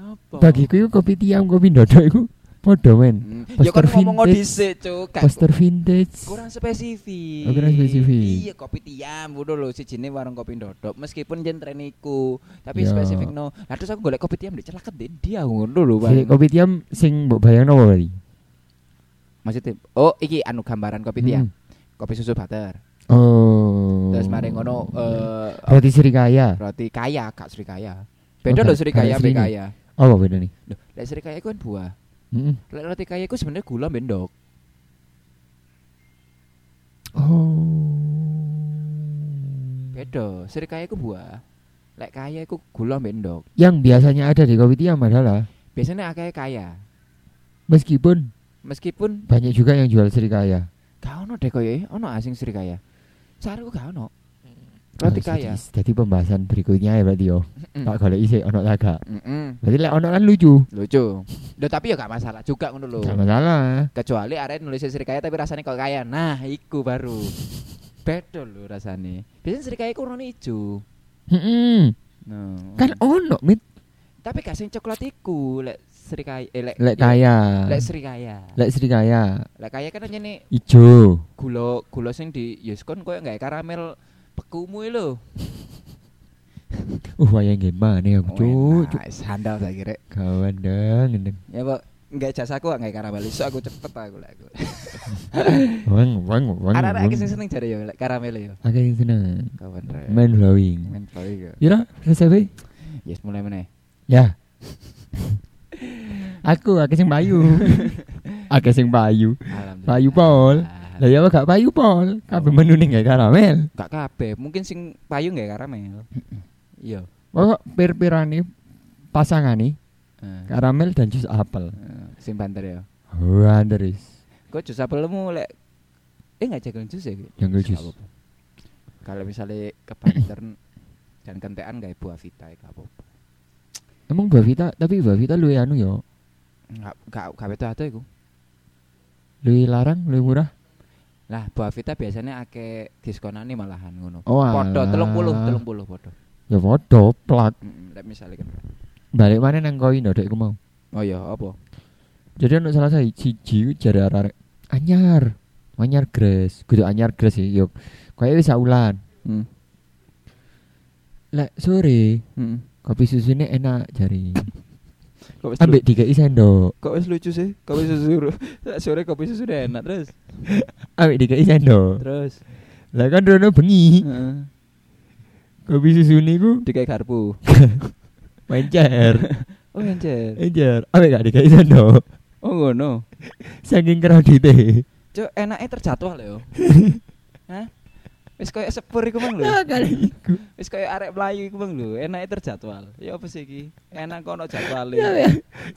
Speaker 4: Apa?
Speaker 3: bagiku iku kopi tiam, kopi dodok iku padha men.
Speaker 4: Hmm,
Speaker 3: Poster
Speaker 4: Ya kon ngomong
Speaker 3: vintage.
Speaker 4: dhisik, Cuk. Kan
Speaker 3: Poster vintage.
Speaker 4: kurang spesifik.
Speaker 3: Oh, kurang spesifik.
Speaker 4: Iya, kopi tiam bodoh lho sijine warung kopi ndodok meskipun jen tren iku, tapi
Speaker 3: Ya.
Speaker 4: spesifik no. Lah terus aku golek kopi tiam ndek celaket ndek dia ngono lho,
Speaker 3: Jadi
Speaker 4: Bang.
Speaker 3: kopi tiam sing mbok bayangno apa tadi?
Speaker 4: Maksudnya, oh iki anu gambaran kopi tiam.
Speaker 3: Hmm.
Speaker 4: Kopi susu butter.
Speaker 3: Oh.
Speaker 4: Terus mari ngono eh,
Speaker 3: Roti Srikaya.
Speaker 4: roti kaya, Kak Sri Kaya. Beda
Speaker 3: Oh,
Speaker 4: lho
Speaker 3: Kak-
Speaker 4: Sri Kaya mbek
Speaker 3: Kak Sri ini.
Speaker 4: kaya.
Speaker 3: Apa beda nih?
Speaker 4: Loh, lek Sri Kaya iku kan buah.
Speaker 3: Mm-mm.
Speaker 4: Lek roti kaya iku sebenarnya gula bendok.
Speaker 3: Oh.
Speaker 4: Beda. Sri kaya iku buah. Lek kaya iku gula bendok.
Speaker 3: Yang biasanya ada di kopi tiam adalah
Speaker 4: Biasanya akeh kaya.
Speaker 3: meskipun
Speaker 4: Meskipun
Speaker 3: banyak juga yang jual Srikaya.
Speaker 4: gak ono deh koyo eh, ono asing Sri kaya. Sari ku gak ono. Roti
Speaker 3: Oh,
Speaker 4: kaya. Hmm.
Speaker 3: jadi- Jadi pembahasan berikutnya ya berarti yo. Tak golek isik ono tak gak.
Speaker 4: Heeh.
Speaker 3: Berarti lek ono kan lucu.
Speaker 4: Lucu. Loh, tapi ya gak masalah juga ngono lho.
Speaker 3: Gak masalah.
Speaker 4: Kecuali arek nulis Sri kaya tapi rasanya kok kaya. Nah, iku baru. Beda lho rasane. Biasanya Sri kaya iku warna ijo.
Speaker 3: Mm-mm.
Speaker 4: No.
Speaker 3: Hmm. Kan ono mit
Speaker 4: tapi gak sing coklat iku lek Sri kaya eh, lek
Speaker 3: lek kaya.
Speaker 4: Lek Sri kaya.
Speaker 3: Lek Srikaya
Speaker 4: Lah kaya kan nyene
Speaker 3: ijo.
Speaker 4: gula gula sing di Yuskon koyo nggak karamel pekumu lho.
Speaker 3: Uh wayang gen maneh
Speaker 4: Oh,
Speaker 3: aku cuk. cuk.
Speaker 4: sandal Ah, tak kira.
Speaker 3: Kawan dong ngendeng.
Speaker 4: Ya Pak, nggak jasa aku nggak karamel iso aku cepet aku lek aku.
Speaker 3: Wang wang wang.
Speaker 4: Arek-arek iki sing
Speaker 3: seneng.
Speaker 4: seneng jare yo lek karamel yo.
Speaker 3: Akeh sing seneng.
Speaker 4: Kawan re.
Speaker 3: Mind blowing.
Speaker 4: Men kau iki.
Speaker 3: Ira resep
Speaker 4: Yes mulai meneh.
Speaker 3: Ya. aku akeh sing payu. akeh sing payu.
Speaker 4: Alhamdulillah. Ah,
Speaker 3: Payu pol. Lah ya apa gak payu pol. Kabeh menu ning gak karamel.
Speaker 4: Gak kabeh, mungkin sing payu nggak karamel. Iya.
Speaker 3: Pokok pir-pirane pasangane
Speaker 4: Eh,
Speaker 3: karamel dan jus apel. Oh,
Speaker 4: eh, Sing banter ya.
Speaker 3: Wah, Andres.
Speaker 4: Kok jus apelmu lek eh nggak jagung jus ya? Ki?
Speaker 3: Jungle
Speaker 4: Nggak
Speaker 3: jus.
Speaker 4: apa-apa. Kalau misalnya kebanteran dan kentean nggak buah vita ya nggak apa-apa.
Speaker 3: Emang Bavita, tapi Bavita luwe anu yo.
Speaker 4: Nggak nggak nggak betul atau iku.
Speaker 3: Luwe larang, luwe murah.
Speaker 4: Lah buah vita biasanya ake diskonan nih malahan ngono.
Speaker 3: Oh,
Speaker 4: Podo
Speaker 3: alah.
Speaker 4: telung puluh telung puluh podo.
Speaker 3: Ya podo plak.
Speaker 4: Mm, Lek misalnya kan.
Speaker 3: Balik mana nang koin ndek ku mau.
Speaker 4: Oh iya apa?
Speaker 3: Jadi untuk salah saya siji jare arek anyar. Anyar gres, kudu anyar gres ya, sih yo. Kayak wis saulan.
Speaker 4: Hmm.
Speaker 3: Lek sore
Speaker 4: Hmm.
Speaker 3: kopi susunya enak jari.
Speaker 4: Kok wis
Speaker 3: Ambek dikai sendok.
Speaker 4: lu- kok wis lucu sih? Kopi susu sore kopi susu udah enak terus.
Speaker 3: Ambek dikai sendok.
Speaker 4: Terus.
Speaker 3: Lah kan rono bengi.
Speaker 4: Heeh.
Speaker 3: Kopi susune ku
Speaker 4: Dikai karpu.
Speaker 3: encer.
Speaker 4: Oh encer.
Speaker 3: Encer. Ambek gak dikai sendok.
Speaker 4: Oh ngono.
Speaker 3: Saking kredite.
Speaker 4: Cuk enaknya terjadwal ya. Hah? Wis koyo sepur iku mang lho.
Speaker 3: kali iku.
Speaker 4: Wis koyo arek mlayu iku mang lho, enake terjadwal. Ya apa sih iki? Enak kok ono e. jadwale.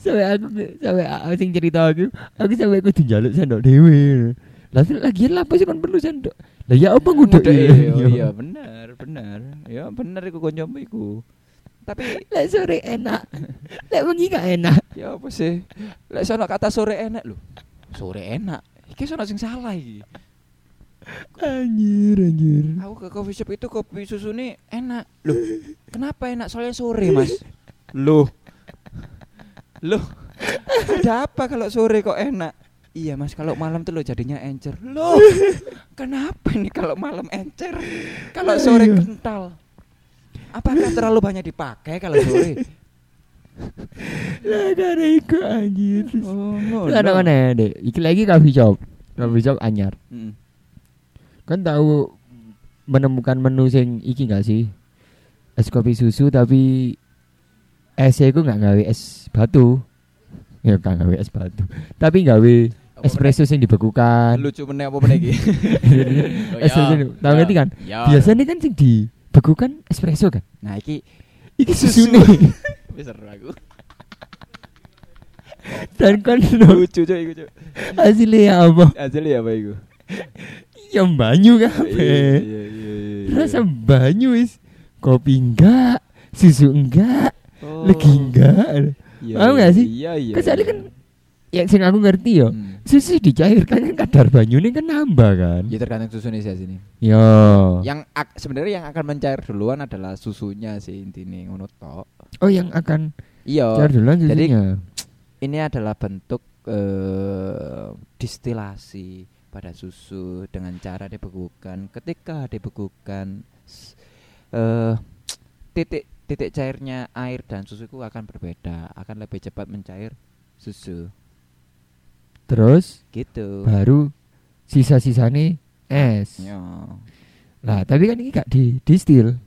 Speaker 3: Sampai sampai aku sampai aku sing cerita aku, aku sampai aku dijaluk sendok dhewe. Lah lagi lah apa sih kon perlu sendok? Lah ya apa
Speaker 4: Udah
Speaker 3: nguduk
Speaker 4: iya,
Speaker 3: ilang, yo?
Speaker 4: iya bener, bener. Ya bener iku koncomu iku. Tapi
Speaker 3: Lek sore enak. Lek wengi gak enak.
Speaker 4: ya apa sih? Lek sono kata sore enak lho. Sore enak. Iki sono sing salah iki.
Speaker 3: Anjir anjir.
Speaker 4: Aku ke coffee shop itu kopi susu nih enak. Loh, kenapa enak? Soalnya sore, Mas. Loh. Loh. Ada apa kalau sore kok enak? Iya mas, kalau malam tuh lo jadinya encer Loh, kenapa ini kalau malam encer? Kalau sore
Speaker 3: Iya.
Speaker 4: kental Apakah terlalu banyak dipakai kalau sore?
Speaker 3: Lah gara iku anjir.
Speaker 4: Oh, ngono.
Speaker 3: Lah ana mana Dek? Iki lagi coffee shop. Coffee shop anyar.
Speaker 4: Mm.
Speaker 3: Kan tahu menemukan menu sing iki gak sih? Es kopi susu tapi e esnya iku gak gawe es batu. Ya gak gawe es batu. Tapi gawe
Speaker 4: Apa
Speaker 3: espresso sing
Speaker 4: meneh?
Speaker 3: dibekukan.
Speaker 4: lucu meneh apa meneh iki? Oh,
Speaker 3: Es
Speaker 4: ya.
Speaker 3: susu, tahu
Speaker 4: Ya.
Speaker 3: ngerti kan?
Speaker 4: Ya.
Speaker 3: Biasanya kan sing dibekukan espresso kan?
Speaker 4: Nah, iki
Speaker 3: Iki
Speaker 4: Susu.
Speaker 3: susune.
Speaker 4: wis seru aku.
Speaker 3: Dan kan
Speaker 4: Lucu cok iku cok.
Speaker 3: hasilnya apa?
Speaker 4: Asli apa iku?
Speaker 3: Ya banyu
Speaker 4: Iya,
Speaker 3: kabeh.
Speaker 4: iya, iya, iya.
Speaker 3: Rasa banyu wis. Kopi enggak, susu enggak,
Speaker 4: Oh.
Speaker 3: legi enggak.
Speaker 4: Iya, iya,
Speaker 3: Paham nggak sih?
Speaker 4: Iya, iya.
Speaker 3: Kecuali
Speaker 4: iya.
Speaker 3: kan Ya sing aku ngerti yo.
Speaker 4: Hmm.
Speaker 3: Susu dicairkan kan kadar banyune kan nambah kan.
Speaker 4: Ya
Speaker 3: Ya.
Speaker 4: tergantung susunya sih sini.
Speaker 3: Yo. Oh.
Speaker 4: Yang ak- sebenarnya yang akan mencair duluan adalah susunya sih intine ngono tok.
Speaker 3: Oh yang akan cair
Speaker 4: Iya.
Speaker 3: duluan
Speaker 4: Jadi-
Speaker 3: susunya.
Speaker 4: Ini adalah bentuk eh, distilasi pada susu dengan cara dibekukan. Ketika dibekukan s- eh, titik titik cairnya air dan susu itu akan berbeda, akan lebih cepat mencair susu.
Speaker 3: Terus
Speaker 4: Gitu.
Speaker 3: baru sisa-sisane es.
Speaker 4: Ya.
Speaker 3: Lah, tapi kan ini gak di distil.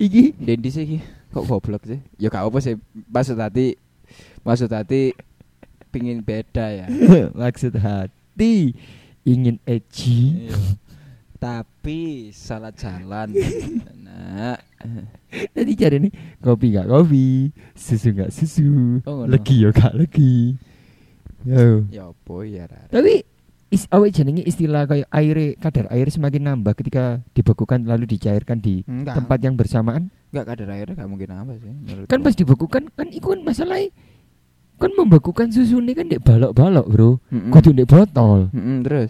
Speaker 3: iki
Speaker 4: Dendi sih iki. kok goblok sih? Ya gak apa sih. Maksud tadi maksud tadi pingin beda ya.
Speaker 3: maksud hati ingin edgy
Speaker 4: Iya. Tapi salah jalan. Nah,
Speaker 3: tadi cari nih kopi gak kopi susu gak susu
Speaker 4: Oh, ngono.
Speaker 3: legi yo gak legi yo
Speaker 4: ya apa ya Rara?
Speaker 3: tapi is awet jenenge istilah kayak air kadar air semakin nambah ketika dibekukan lalu dicairkan di
Speaker 2: Hmm,
Speaker 4: Enggak.
Speaker 3: tempat yang bersamaan
Speaker 4: enggak kadar airnya enggak mungkin apa sih menurut
Speaker 3: kan pas dibekukan kan iku kan masalahnya kan membekukan susu ini kan dek balok-balok bro
Speaker 4: Mm-mm.
Speaker 3: kudu dek botol
Speaker 4: Mm-mm, terus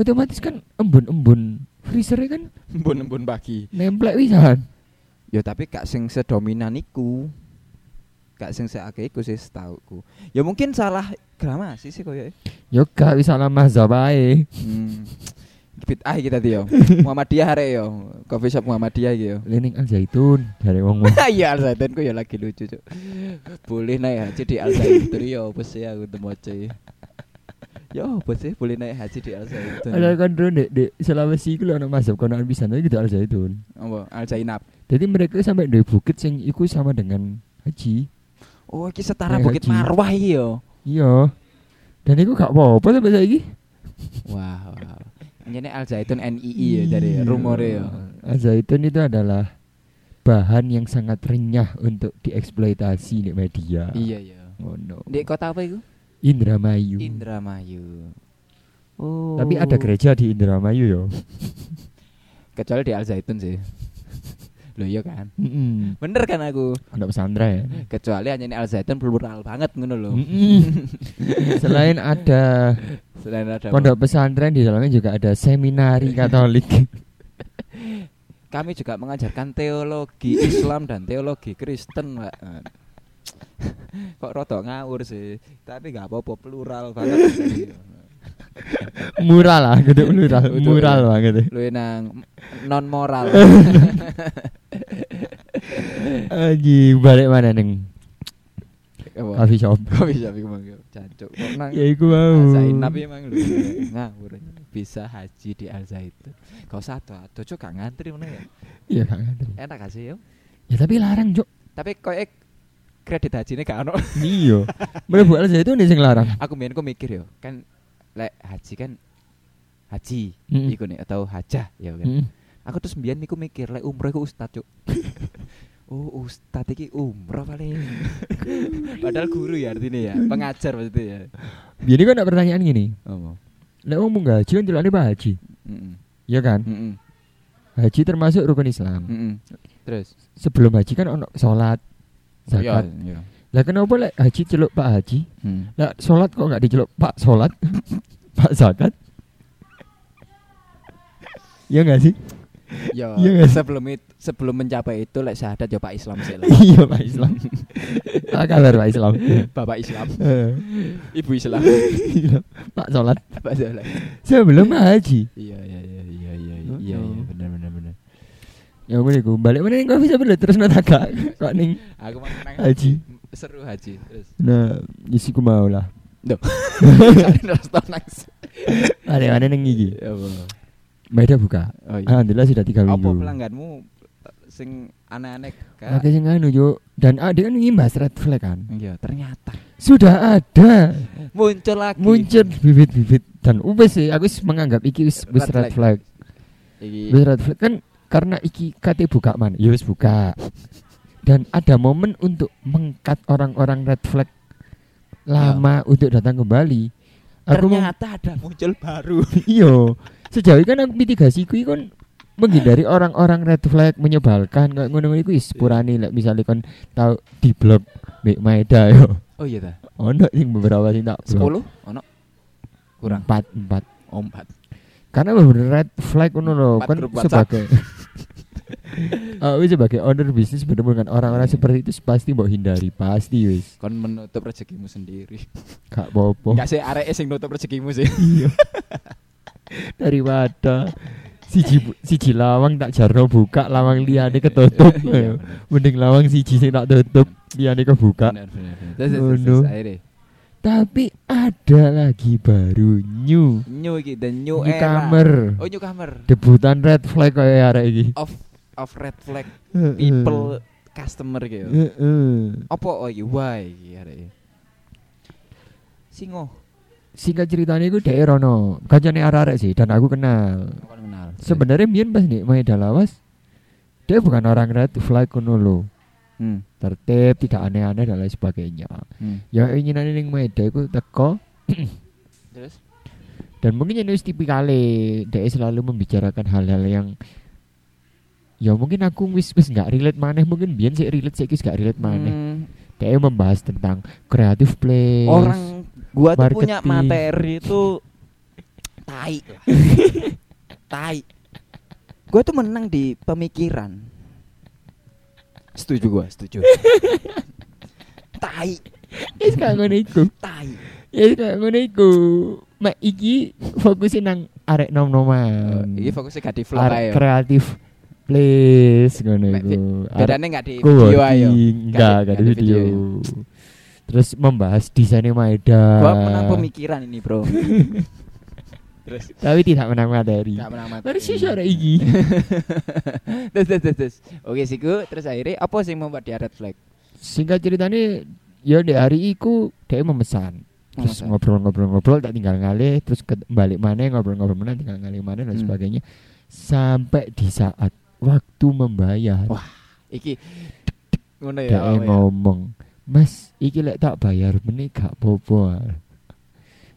Speaker 3: otomatis kan embun-embun freezer kan
Speaker 4: embun-embun pagi.
Speaker 3: nemplek wisan
Speaker 4: Ya tapi gak sing sedominan iku. Gak sing seakeh iku sih setauku. Ya mungkin salah gramasi sih koyo e.
Speaker 3: yo gak bisa lama zabae
Speaker 4: Hmm. Bid'ah kita tadi yo. Muhammadiyah arek yo. Coffee shop Muhammadiyah iki ya. yo.
Speaker 3: Lening al zaitun dari wong wong.
Speaker 4: Iya Al Zaitun ku ya lagi lucu cuk. Boleh naik haji di Al Zaitun ya apa sih aku temoce. Ya apa sih boleh naik haji di Al Zaitun.
Speaker 3: Ada kan dulu dek dek Sulawesi itu loh masuk kono bisa tapi gitu al zaitun.
Speaker 4: Apa? Al Zainab.
Speaker 3: Jadi mereka sampai dari bukit sing iku sama dengan haji.
Speaker 4: Oh iki setara
Speaker 3: Naik
Speaker 4: Bukit
Speaker 3: haji.
Speaker 4: Marwah iki ya. yo.
Speaker 3: Iya. Dan iku gak apa-apa sampai saiki.
Speaker 4: Wah, wah. Ini Al Zaitun NII ya dari
Speaker 3: Iya.
Speaker 4: rumore yo.
Speaker 3: Al Ah, zaitun itu adalah bahan yang sangat renyah untuk dieksploitasi di media.
Speaker 4: Iya iya.
Speaker 3: Oh no.
Speaker 4: Di kota apa itu?
Speaker 3: Indramayu.
Speaker 4: Indramayu. Oh.
Speaker 3: Tapi ada gereja di Indramayu yo.
Speaker 4: kecuali di Al Zaitun sih. Loh iya kan.
Speaker 3: Mm-mm.
Speaker 4: Bener kan aku?
Speaker 3: Pondok pesantren.
Speaker 4: Kecuali hanya ini Al Zaitun plural banget ngono loh.
Speaker 3: Hmm. Mm-mm. Selain ada
Speaker 4: Selain ada apa?
Speaker 3: Pondok pesantren di dalamnya juga ada seminari Katolik.
Speaker 4: Kami juga mengajarkan teologi Islam dan teologi Kristen, Pak. Eh, Kok rotok ngawur sih. Tapi nggak apa-apa plural banget. sih.
Speaker 3: murah lah, gede murah,
Speaker 4: Betul.
Speaker 3: murah banget. ya.
Speaker 4: Lu nang non moral.
Speaker 3: Aji balik mana neng
Speaker 4: Apa?
Speaker 3: coffee shop?
Speaker 4: Kok bisa aku mangga? Jancuk. Kok nang
Speaker 3: Ya iku mau.
Speaker 4: Al Zainab emang lu ngawur. Bisa haji di Al Zaitun. Kau satu atau cok gak ngantri mana ya?
Speaker 3: Iya Kak Andri.
Speaker 4: Enak gak sih yo.
Speaker 3: Ya tapi larang Jok.
Speaker 4: Tapi kau kredit hajinya gak ono.
Speaker 3: Iya. Mlebu Al Zaitun nih sing larang.
Speaker 4: aku main aku mikir yo kan lek haji kan haji
Speaker 3: Mm-mm.
Speaker 4: iku nih atau hajah ya kan
Speaker 3: Mm.
Speaker 4: aku terus mbiyen niku mikir lek umroh iku ustaz cuk Oh, ustad iki umroh paling. Padahal guru ya artinya ya, pengajar maksudnya ya.
Speaker 3: Jadi kan ada pertanyaan gini,
Speaker 4: Oh.
Speaker 3: lek wong munggah haji kan delokne Pak Haji,
Speaker 4: Heeh.
Speaker 3: ya kan?
Speaker 4: Heeh.
Speaker 3: Haji termasuk rukun Islam.
Speaker 4: Heeh. Terus.
Speaker 3: Sebelum haji kan ono salat,
Speaker 4: Ya,
Speaker 3: zakat. Lah kenapa lek haji celuk Pak Haji?
Speaker 4: Hmm.
Speaker 3: Lah salat kok nggak diceluk Pak salat? Pak zakat? ya enggak sih?
Speaker 4: Ya,
Speaker 3: Iya nggak sih?
Speaker 4: sebelum itu, sebelum mencapai itu lek syahadat ya Pak Islam sih lah.
Speaker 3: Iya Pak Islam. Apa kabar Pak Islam?
Speaker 4: Bapak Islam,
Speaker 3: Eh,
Speaker 4: Ibu Islam,
Speaker 3: Pak salat.
Speaker 4: Pak Zola.
Speaker 3: Sebelum haji.
Speaker 4: Iya, iya, iya, iya, iya,
Speaker 3: Oh,
Speaker 4: iya, iya,
Speaker 3: no.
Speaker 4: benar benar benar.
Speaker 3: Ya gue gue balik mana kau bisa beli terus nata gak kok ning
Speaker 4: Aku mau menang
Speaker 3: haji.
Speaker 4: seru haji. Terus.
Speaker 3: Nah, isi ku mau lah.
Speaker 4: Terus tau nangis.
Speaker 3: Ada mana neng gigi.
Speaker 4: Ya, apa?
Speaker 3: Beda buka.
Speaker 4: Oh iya.
Speaker 3: Alhamdulillah sudah tiga
Speaker 4: Apa
Speaker 3: minggu.
Speaker 4: pelangganmu eh, sing aneh-aneh Kak?
Speaker 3: Pakai yang anu Jo. dan ah, dia kan ngimbas red flag kan.
Speaker 4: Iya, ternyata
Speaker 3: Sudah ada
Speaker 4: muncul lagi.
Speaker 3: muncul bibit-bibit dan ubes sih aku wis menganggap iki wis wis
Speaker 4: Red Iya.
Speaker 3: red flag.
Speaker 4: Iki.
Speaker 3: Wis red flag kan karena iki kate buka man. Ya wis buka. Dan ada momen untuk mengkat orang-orang red flag lama untuk datang kembali. Aku mem-
Speaker 4: Iya. ternyata ada muncul baru.
Speaker 3: Iya. Sejauh ini kan aku mitigasi kuwi kon menghindari orang-orang red flag menyebalkan kayak ngono iku wis purani lek misale kon tau di blog Mbak Maeda yo.
Speaker 4: Oh iya ta.
Speaker 3: Ono sing beberapa sing tak blok.
Speaker 4: 10 ono. Kurang
Speaker 3: Empat, empat.
Speaker 4: ompat.
Speaker 3: Karena bener red flag ngono lho
Speaker 4: Empat
Speaker 3: kon
Speaker 4: grup WhatsApp.
Speaker 3: sebagai Eh, wis sebagai owner bisnis bertemu dengan orang-orang
Speaker 4: Iya.
Speaker 3: seperti itu pasti mau hindari pasti wis
Speaker 4: Kon menutup rezekimu sendiri.
Speaker 3: gak popo
Speaker 4: Enggak sih areke sing nutup rezekimu sih.
Speaker 3: daripada siji bu- siji lawang tak jarno buka lawang liyane ketutup
Speaker 4: Iya, bener.
Speaker 3: mending lawang siji sing tak tutup liyane kebuka
Speaker 4: Bener, bener, bener. Terus
Speaker 3: Oh,
Speaker 4: terus,
Speaker 3: no.
Speaker 4: terus akhirnya.
Speaker 3: tapi ada lagi baru new
Speaker 4: New iki the new,
Speaker 3: New
Speaker 4: era.
Speaker 3: comer.
Speaker 4: Oh new comer.
Speaker 3: debutan red flag kayak arek iki
Speaker 4: Of of red flag Oh,
Speaker 3: Hmm.
Speaker 4: people customer gitu.
Speaker 3: Heeh.
Speaker 4: Apa oh iki why iki areke? Singo.
Speaker 3: singkat ceritanya gue dari Rono kancane arek-arek sih dan aku kenal
Speaker 4: Aku kan kenal.
Speaker 3: sebenarnya Mian pas nih main dalawas dia bukan orang red flag kuno lo
Speaker 4: Hmm.
Speaker 3: tertib tidak aneh-aneh dan lain sebagainya
Speaker 4: hmm.
Speaker 3: ya inginannya ning Maeda iku teko
Speaker 4: Terus
Speaker 3: dan mungkin ini wis tipikale dia selalu membicarakan hal-hal yang ya mungkin aku wis wis nggak relate maneh mungkin biyen sik relate sik wis gak relate maneh
Speaker 4: Hmm.
Speaker 3: dia membahas tentang creative place
Speaker 4: orang gua tuh punya ya.
Speaker 3: Marketing.
Speaker 4: materi itu tai lah. tai gua tuh menang di pemikiran setuju gua setuju tai
Speaker 3: wis gak Ya, ngono iku
Speaker 4: tai
Speaker 3: ya wis gak ngono iku mak iki fokusin nang arek nom-noman
Speaker 4: ini fokusnya gak di vlog
Speaker 3: arek
Speaker 4: ayo
Speaker 3: kreatif place ngono
Speaker 4: ya. Mek,
Speaker 3: iku Arek
Speaker 4: bedanya gak di video ayo
Speaker 3: Co-working Enggak,
Speaker 4: Nggak
Speaker 3: enggak
Speaker 4: ada
Speaker 3: ada
Speaker 4: video,
Speaker 3: video Terus membahas desainnya Maeda
Speaker 4: gua menang pemikiran ini bro terus
Speaker 3: Tapi tidak menang materi
Speaker 4: gak menang materi
Speaker 3: Terus sih ada iki
Speaker 4: terus terus terus, terus. oke siku terus akhirnya apa sih yang membuat dia red flag
Speaker 3: Singkat ceritanya Ya di hari iku Dia memesan Terus
Speaker 4: Masa?
Speaker 3: ngobrol-ngobrol-ngobrol Tak tinggal ngalih Terus ke- balik mana Ngobrol-ngobrol mana Tinggal ngalih mana Dan
Speaker 4: Hmm.
Speaker 3: sebagainya Sampai di saat Waktu membayar
Speaker 4: Wah, iki ngono ya.
Speaker 3: Dia
Speaker 4: apa ya?
Speaker 3: ngomong Mas Iki lek tak bayar Meni gak bobo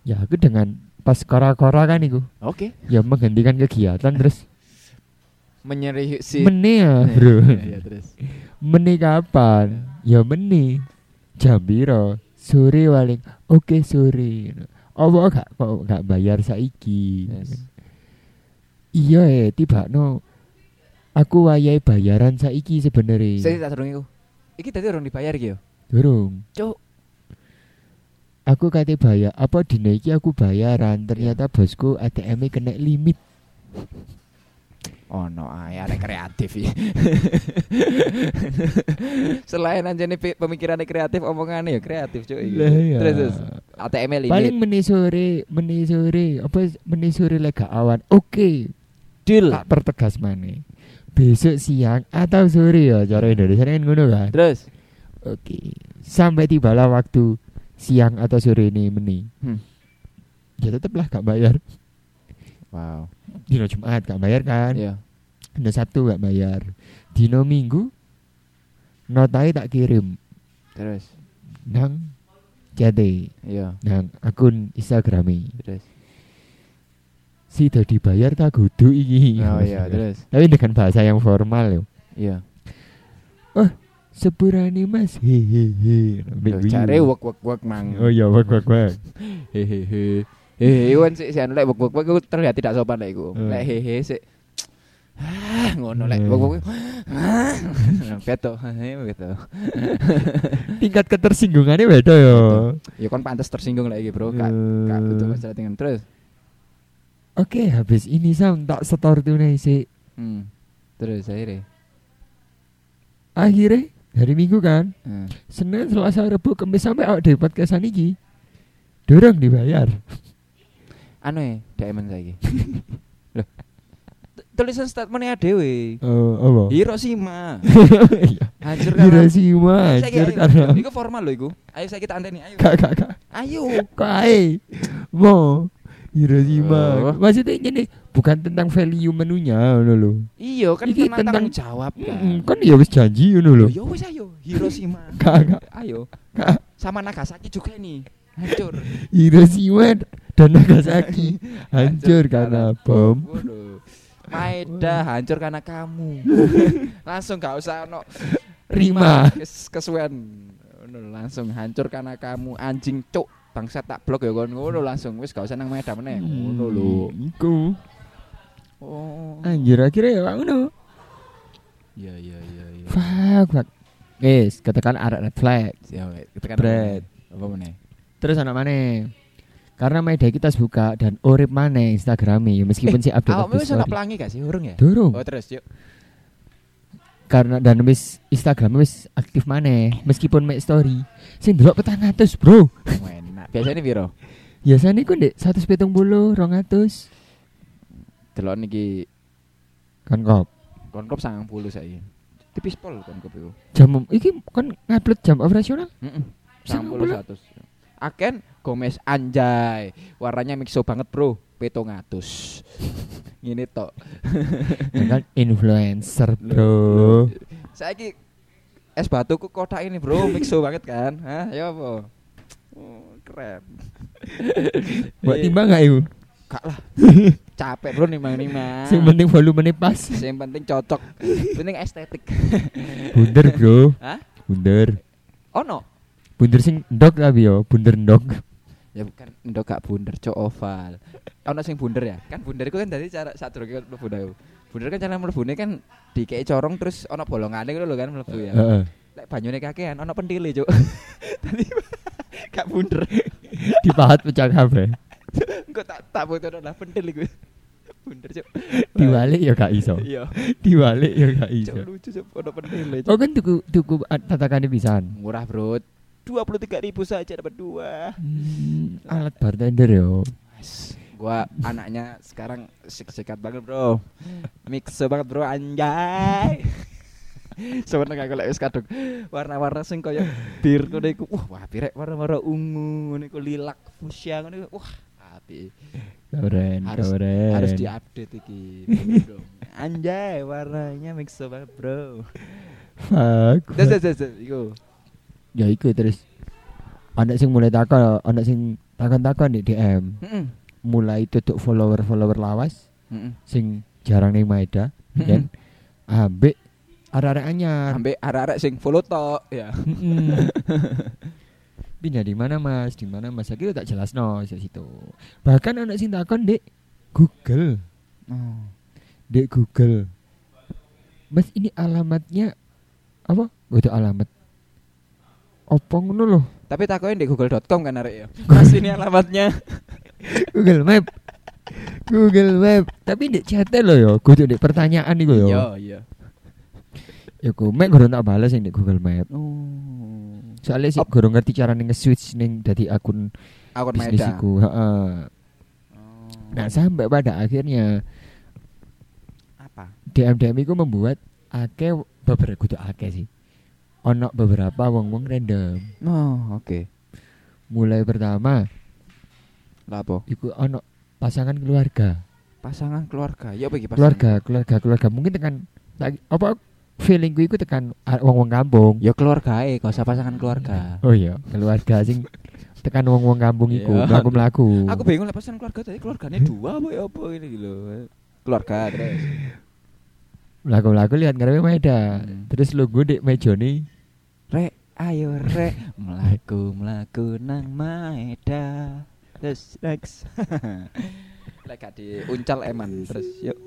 Speaker 3: Ya aku dengan Pas kora-kora kan iku
Speaker 4: Oke,
Speaker 3: ya menghentikan kegiatan terus
Speaker 4: menyeri si
Speaker 3: meni
Speaker 4: Iya,
Speaker 3: ya Ah, bro
Speaker 4: iya, iya, terus.
Speaker 3: meni kapan ya meni jam piro sore paling oke sore apa gak kok gak bayar saiki
Speaker 4: Yes.
Speaker 3: iya eh tiba no aku wayahe bayaran saiki
Speaker 4: Saya
Speaker 3: sebenarnya
Speaker 4: tak serung iku. Iki tadi orang dibayar iki yo.
Speaker 3: durung
Speaker 4: Cuk,
Speaker 3: aku kate bayar apa dine iki aku bayaran ternyata bosku ATM-e e kena limit
Speaker 4: ono ae arek ya, kreatif iki. Selain anjene pi- pemikirannya kreatif, omongannya ya kreatif cuk iki.
Speaker 3: Lah, iya.
Speaker 4: Terus terus ATM limit.
Speaker 3: paling meni sore meni sore apa meni sore lek gak awan oke
Speaker 4: deal.
Speaker 3: tak pertegas mana besok siang atau sore ya cara Indonesia kan ngono kan
Speaker 4: Terus
Speaker 3: oke sampai tibalah waktu siang atau sore ini meni
Speaker 4: Hmm.
Speaker 3: ya tetaplah gak bayar
Speaker 4: wow.
Speaker 3: dino
Speaker 4: Ya.
Speaker 3: Jumat gak bayar kan
Speaker 4: Iya.
Speaker 3: dino Sabtu gak bayar dino Minggu notai tak kirim
Speaker 4: Terus.
Speaker 3: nang CT
Speaker 4: Iya.
Speaker 3: nang akun Instagrami
Speaker 4: Terus.
Speaker 3: si udah dibayar tak kudu iki
Speaker 4: Oh iya, terus.
Speaker 3: tapi dengan bahasa yang formal yo
Speaker 4: Iya.
Speaker 3: sepurane Eh, mas hehehe
Speaker 4: Loh, Cari wek wek wek mang.
Speaker 3: oh iya wak wak wak
Speaker 4: hehehe hehehe kan sih si anu lek bok bok aku terlihat tidak sopan lek iku
Speaker 3: Hmm.
Speaker 4: lek hehehe sih ah ngono lek
Speaker 3: Hmm.
Speaker 4: bok bok ah beto beto
Speaker 3: tingkat ketersinggungannya beda yo
Speaker 4: ya kon pantas tersinggung lek iki bro kak
Speaker 3: Eh.
Speaker 4: kak butuh masalah dengan terus
Speaker 3: Oke, habis ini Sam tak setor tunai sih.
Speaker 4: hmm. terus akhirnya
Speaker 3: Akhirnya hari Minggu kan,
Speaker 4: Hmm.
Speaker 3: Senin, Selasa, Rabu, Kamis sampai awak di podcast iki. Dorong dibayar.
Speaker 4: anu ya diamond saiki Loh. T- tulisan statementnya dewe
Speaker 3: Oh, apa?
Speaker 4: Hiroshima
Speaker 3: Iya.
Speaker 4: hancur kan
Speaker 3: Hiroshima, hancur karena
Speaker 4: Iku formal loh iku. Ayo saya kita anteni ayo.
Speaker 3: kak kak kak.
Speaker 4: Ayo.
Speaker 3: Kok ae? Mo
Speaker 4: Oh.
Speaker 3: Hiroshima. Maksudnya ini bukan tentang value menunya ngono lho.
Speaker 4: Iya kan
Speaker 3: Iki
Speaker 4: tentang
Speaker 3: tentang-
Speaker 4: tanggung jawab kan.
Speaker 3: Mm, Kan ya wis janji ngono lho.
Speaker 4: Ya wis ayo Hiroshima.
Speaker 3: Kak kak.
Speaker 4: Ayo.
Speaker 3: Kak.
Speaker 4: Sama Nagasaki juga nih. Hancur.
Speaker 3: Hiroshima dan Nagasaki hancur karena bom.
Speaker 4: Waduh. Maeda hancur karena kamu. langsung gak usah ono
Speaker 3: Rima.
Speaker 4: kes kesuwen. Ngono, Langsung hancur karena kamu anjing cuk. Bangsa tak blok ya kon ngono langsung wis gak usah nang Maeda meneh. Eh, Ngono lho.
Speaker 3: Hmm, Iku.
Speaker 4: Oh.
Speaker 3: Anjir akhirnya ya ngono.
Speaker 4: Iya iya iya iya.
Speaker 3: Fuck, fuck. Guys, katakan arek red flag.
Speaker 4: Ya wait, kita kan
Speaker 3: Bread.
Speaker 4: apa meneh?
Speaker 3: Terus anak mana? Karena media kita harus buka dan urip mana Instagramnya ya meskipun sih
Speaker 4: Eh,
Speaker 3: update
Speaker 4: Awakmu
Speaker 3: update
Speaker 4: wis ono
Speaker 3: story.
Speaker 4: pelangi gak sih urung ya?
Speaker 3: Durung.
Speaker 4: Oh terus yuk.
Speaker 3: Karena dan wis Instagram wis aktif mana meskipun make story. Sing delok petang atus,
Speaker 4: Oh,
Speaker 3: Bro.
Speaker 4: Enak. Biasanya piro?
Speaker 3: Biasanya ku ndek 170, 200.
Speaker 4: Delok niki
Speaker 3: Kan kok
Speaker 4: konkop 90 saiki. Tipis pol konkop iku.
Speaker 3: jam iki kan ngupload jam operasional.
Speaker 4: Heeh.
Speaker 3: 90?
Speaker 4: 90 100. Aken Gomez anjay. Warnanya mixo banget, Bro. 700. Ngene tok.
Speaker 3: Ya kan influencer, Bro.
Speaker 4: Saiki es batuku kotak ini, Bro. Mixo banget kan? Hah, ya apa? Oh, keren.
Speaker 3: Buat
Speaker 4: Iya.
Speaker 3: timbang gak iku?
Speaker 4: Kak lah. Capek, Bro, nimang-nimang.
Speaker 3: Sing penting volumenya pas.
Speaker 4: Sing penting cocok. penting estetik.
Speaker 3: Bunder, Bro.
Speaker 4: Hah?
Speaker 3: Bunder.
Speaker 4: Oh no.
Speaker 3: Bunder sing ndok tapi yo, bunder ndok.
Speaker 4: Ya bukan ndok gak bunder, cok oval. Ono sing bunder ya. Kan bunder iku kan dari cara sadurunge kon mlebu ndok. Bunder kan cara mlebune kan dikei corong terus ono bolongane ngono lho kan mlebu ya.
Speaker 3: Heeh.
Speaker 4: Lek banyune kakean ono pentile, cok. Dadi gak bunder.
Speaker 3: Dipahat pecah kabeh.
Speaker 4: Engko tak tak fotono lah pentil iku. Bunder, cok.
Speaker 3: Diwalik ya gak iso.
Speaker 4: Iya.
Speaker 3: Diwalik ya gak
Speaker 4: Cok
Speaker 3: iso.
Speaker 4: lucu, cok ono pentile,
Speaker 3: Oh
Speaker 4: cok.
Speaker 3: kan tuku tuku a- tatakane pisan.
Speaker 4: Murah, Bro. 23.000 saja dapat dua.
Speaker 3: Hmm, alat bartender yo.
Speaker 4: Mas, gua anaknya sekarang sikat banget bro mixe banget bro anjay sebenarnya aku lek wis kadung warna-warna sing koyo bir ngono iku wah apik rek warna-warna ungu ngono iku lilac fuchsia ngono iku wah apik
Speaker 3: Keren,
Speaker 4: Harus-
Speaker 3: keren.
Speaker 4: harus diupdate iki bro. anjay warnanya mixe banget bro
Speaker 3: Fuck.
Speaker 4: des des des des, iku
Speaker 3: Ya iku terus. Anak sing mulai takon, anak sing takon-takon di DM.
Speaker 4: heeh
Speaker 3: Mulai tutup follower-follower lawas
Speaker 4: heeh
Speaker 3: sing jarang ning Maeda dan ambek arek-arek anyar.
Speaker 4: ambek arek-arek sing follow tok ya
Speaker 3: Mm-mm. Pindah di mana mas? Di mana mas? Akhirnya tak jelas no situ. Bahkan anak sing takon dek Google, dek Google. Mas ini alamatnya apa? Oh, itu alamat. Apa ngono loh?
Speaker 4: tapi takoin di google.com kan arek ya mas ini alamatnya
Speaker 3: Google Map. Google Map. Tapi dek chat loh yo. Kudu dek pertanyaan iku yo.
Speaker 4: iya iya
Speaker 3: Ya ku mek gurung tak bales yang dek Google Map.
Speaker 4: Oh.
Speaker 3: Soalnya sih
Speaker 4: Op.
Speaker 3: gurung ngerti cara nge-switch ning dadi akun
Speaker 4: Akun
Speaker 3: bisnis
Speaker 4: Maeda.
Speaker 3: iku. Heeh.
Speaker 4: Oh.
Speaker 3: Nah sampai pada akhirnya
Speaker 4: apa?
Speaker 3: DM DM iku membuat ake beberapa kudu ake sih. Ono beberapa wong-wong random.
Speaker 4: Oh, oke.
Speaker 3: Mulai pertama
Speaker 4: Lapo?
Speaker 3: iku ono pasangan keluarga.
Speaker 4: Pasangan keluarga. Ya apa iki pasangan?
Speaker 3: Keluarga, keluarga, keluarga. Mungkin tekan tak- apa feeling gue iku tekan ar- wong-wong kampung.
Speaker 4: Ya keluarga e, kok usah pasangan keluarga.
Speaker 3: Oh iya, keluarga sing tekan wong-wong kampung iku,
Speaker 4: Iya.
Speaker 3: mlaku-mlaku.
Speaker 4: Aku bingung lah pasangan keluarga tadi keluarganya dua apa ya apa ini gitu. Keluarga terus.
Speaker 3: Mlaku-mlaku lihat ngarepe Maeda.
Speaker 4: Hmm.
Speaker 3: Terus lu gue dek mejone
Speaker 4: Rek, ayo rek, melaku melaku nang maeda. Terus next. Lek gak diuncal eman terus yuk.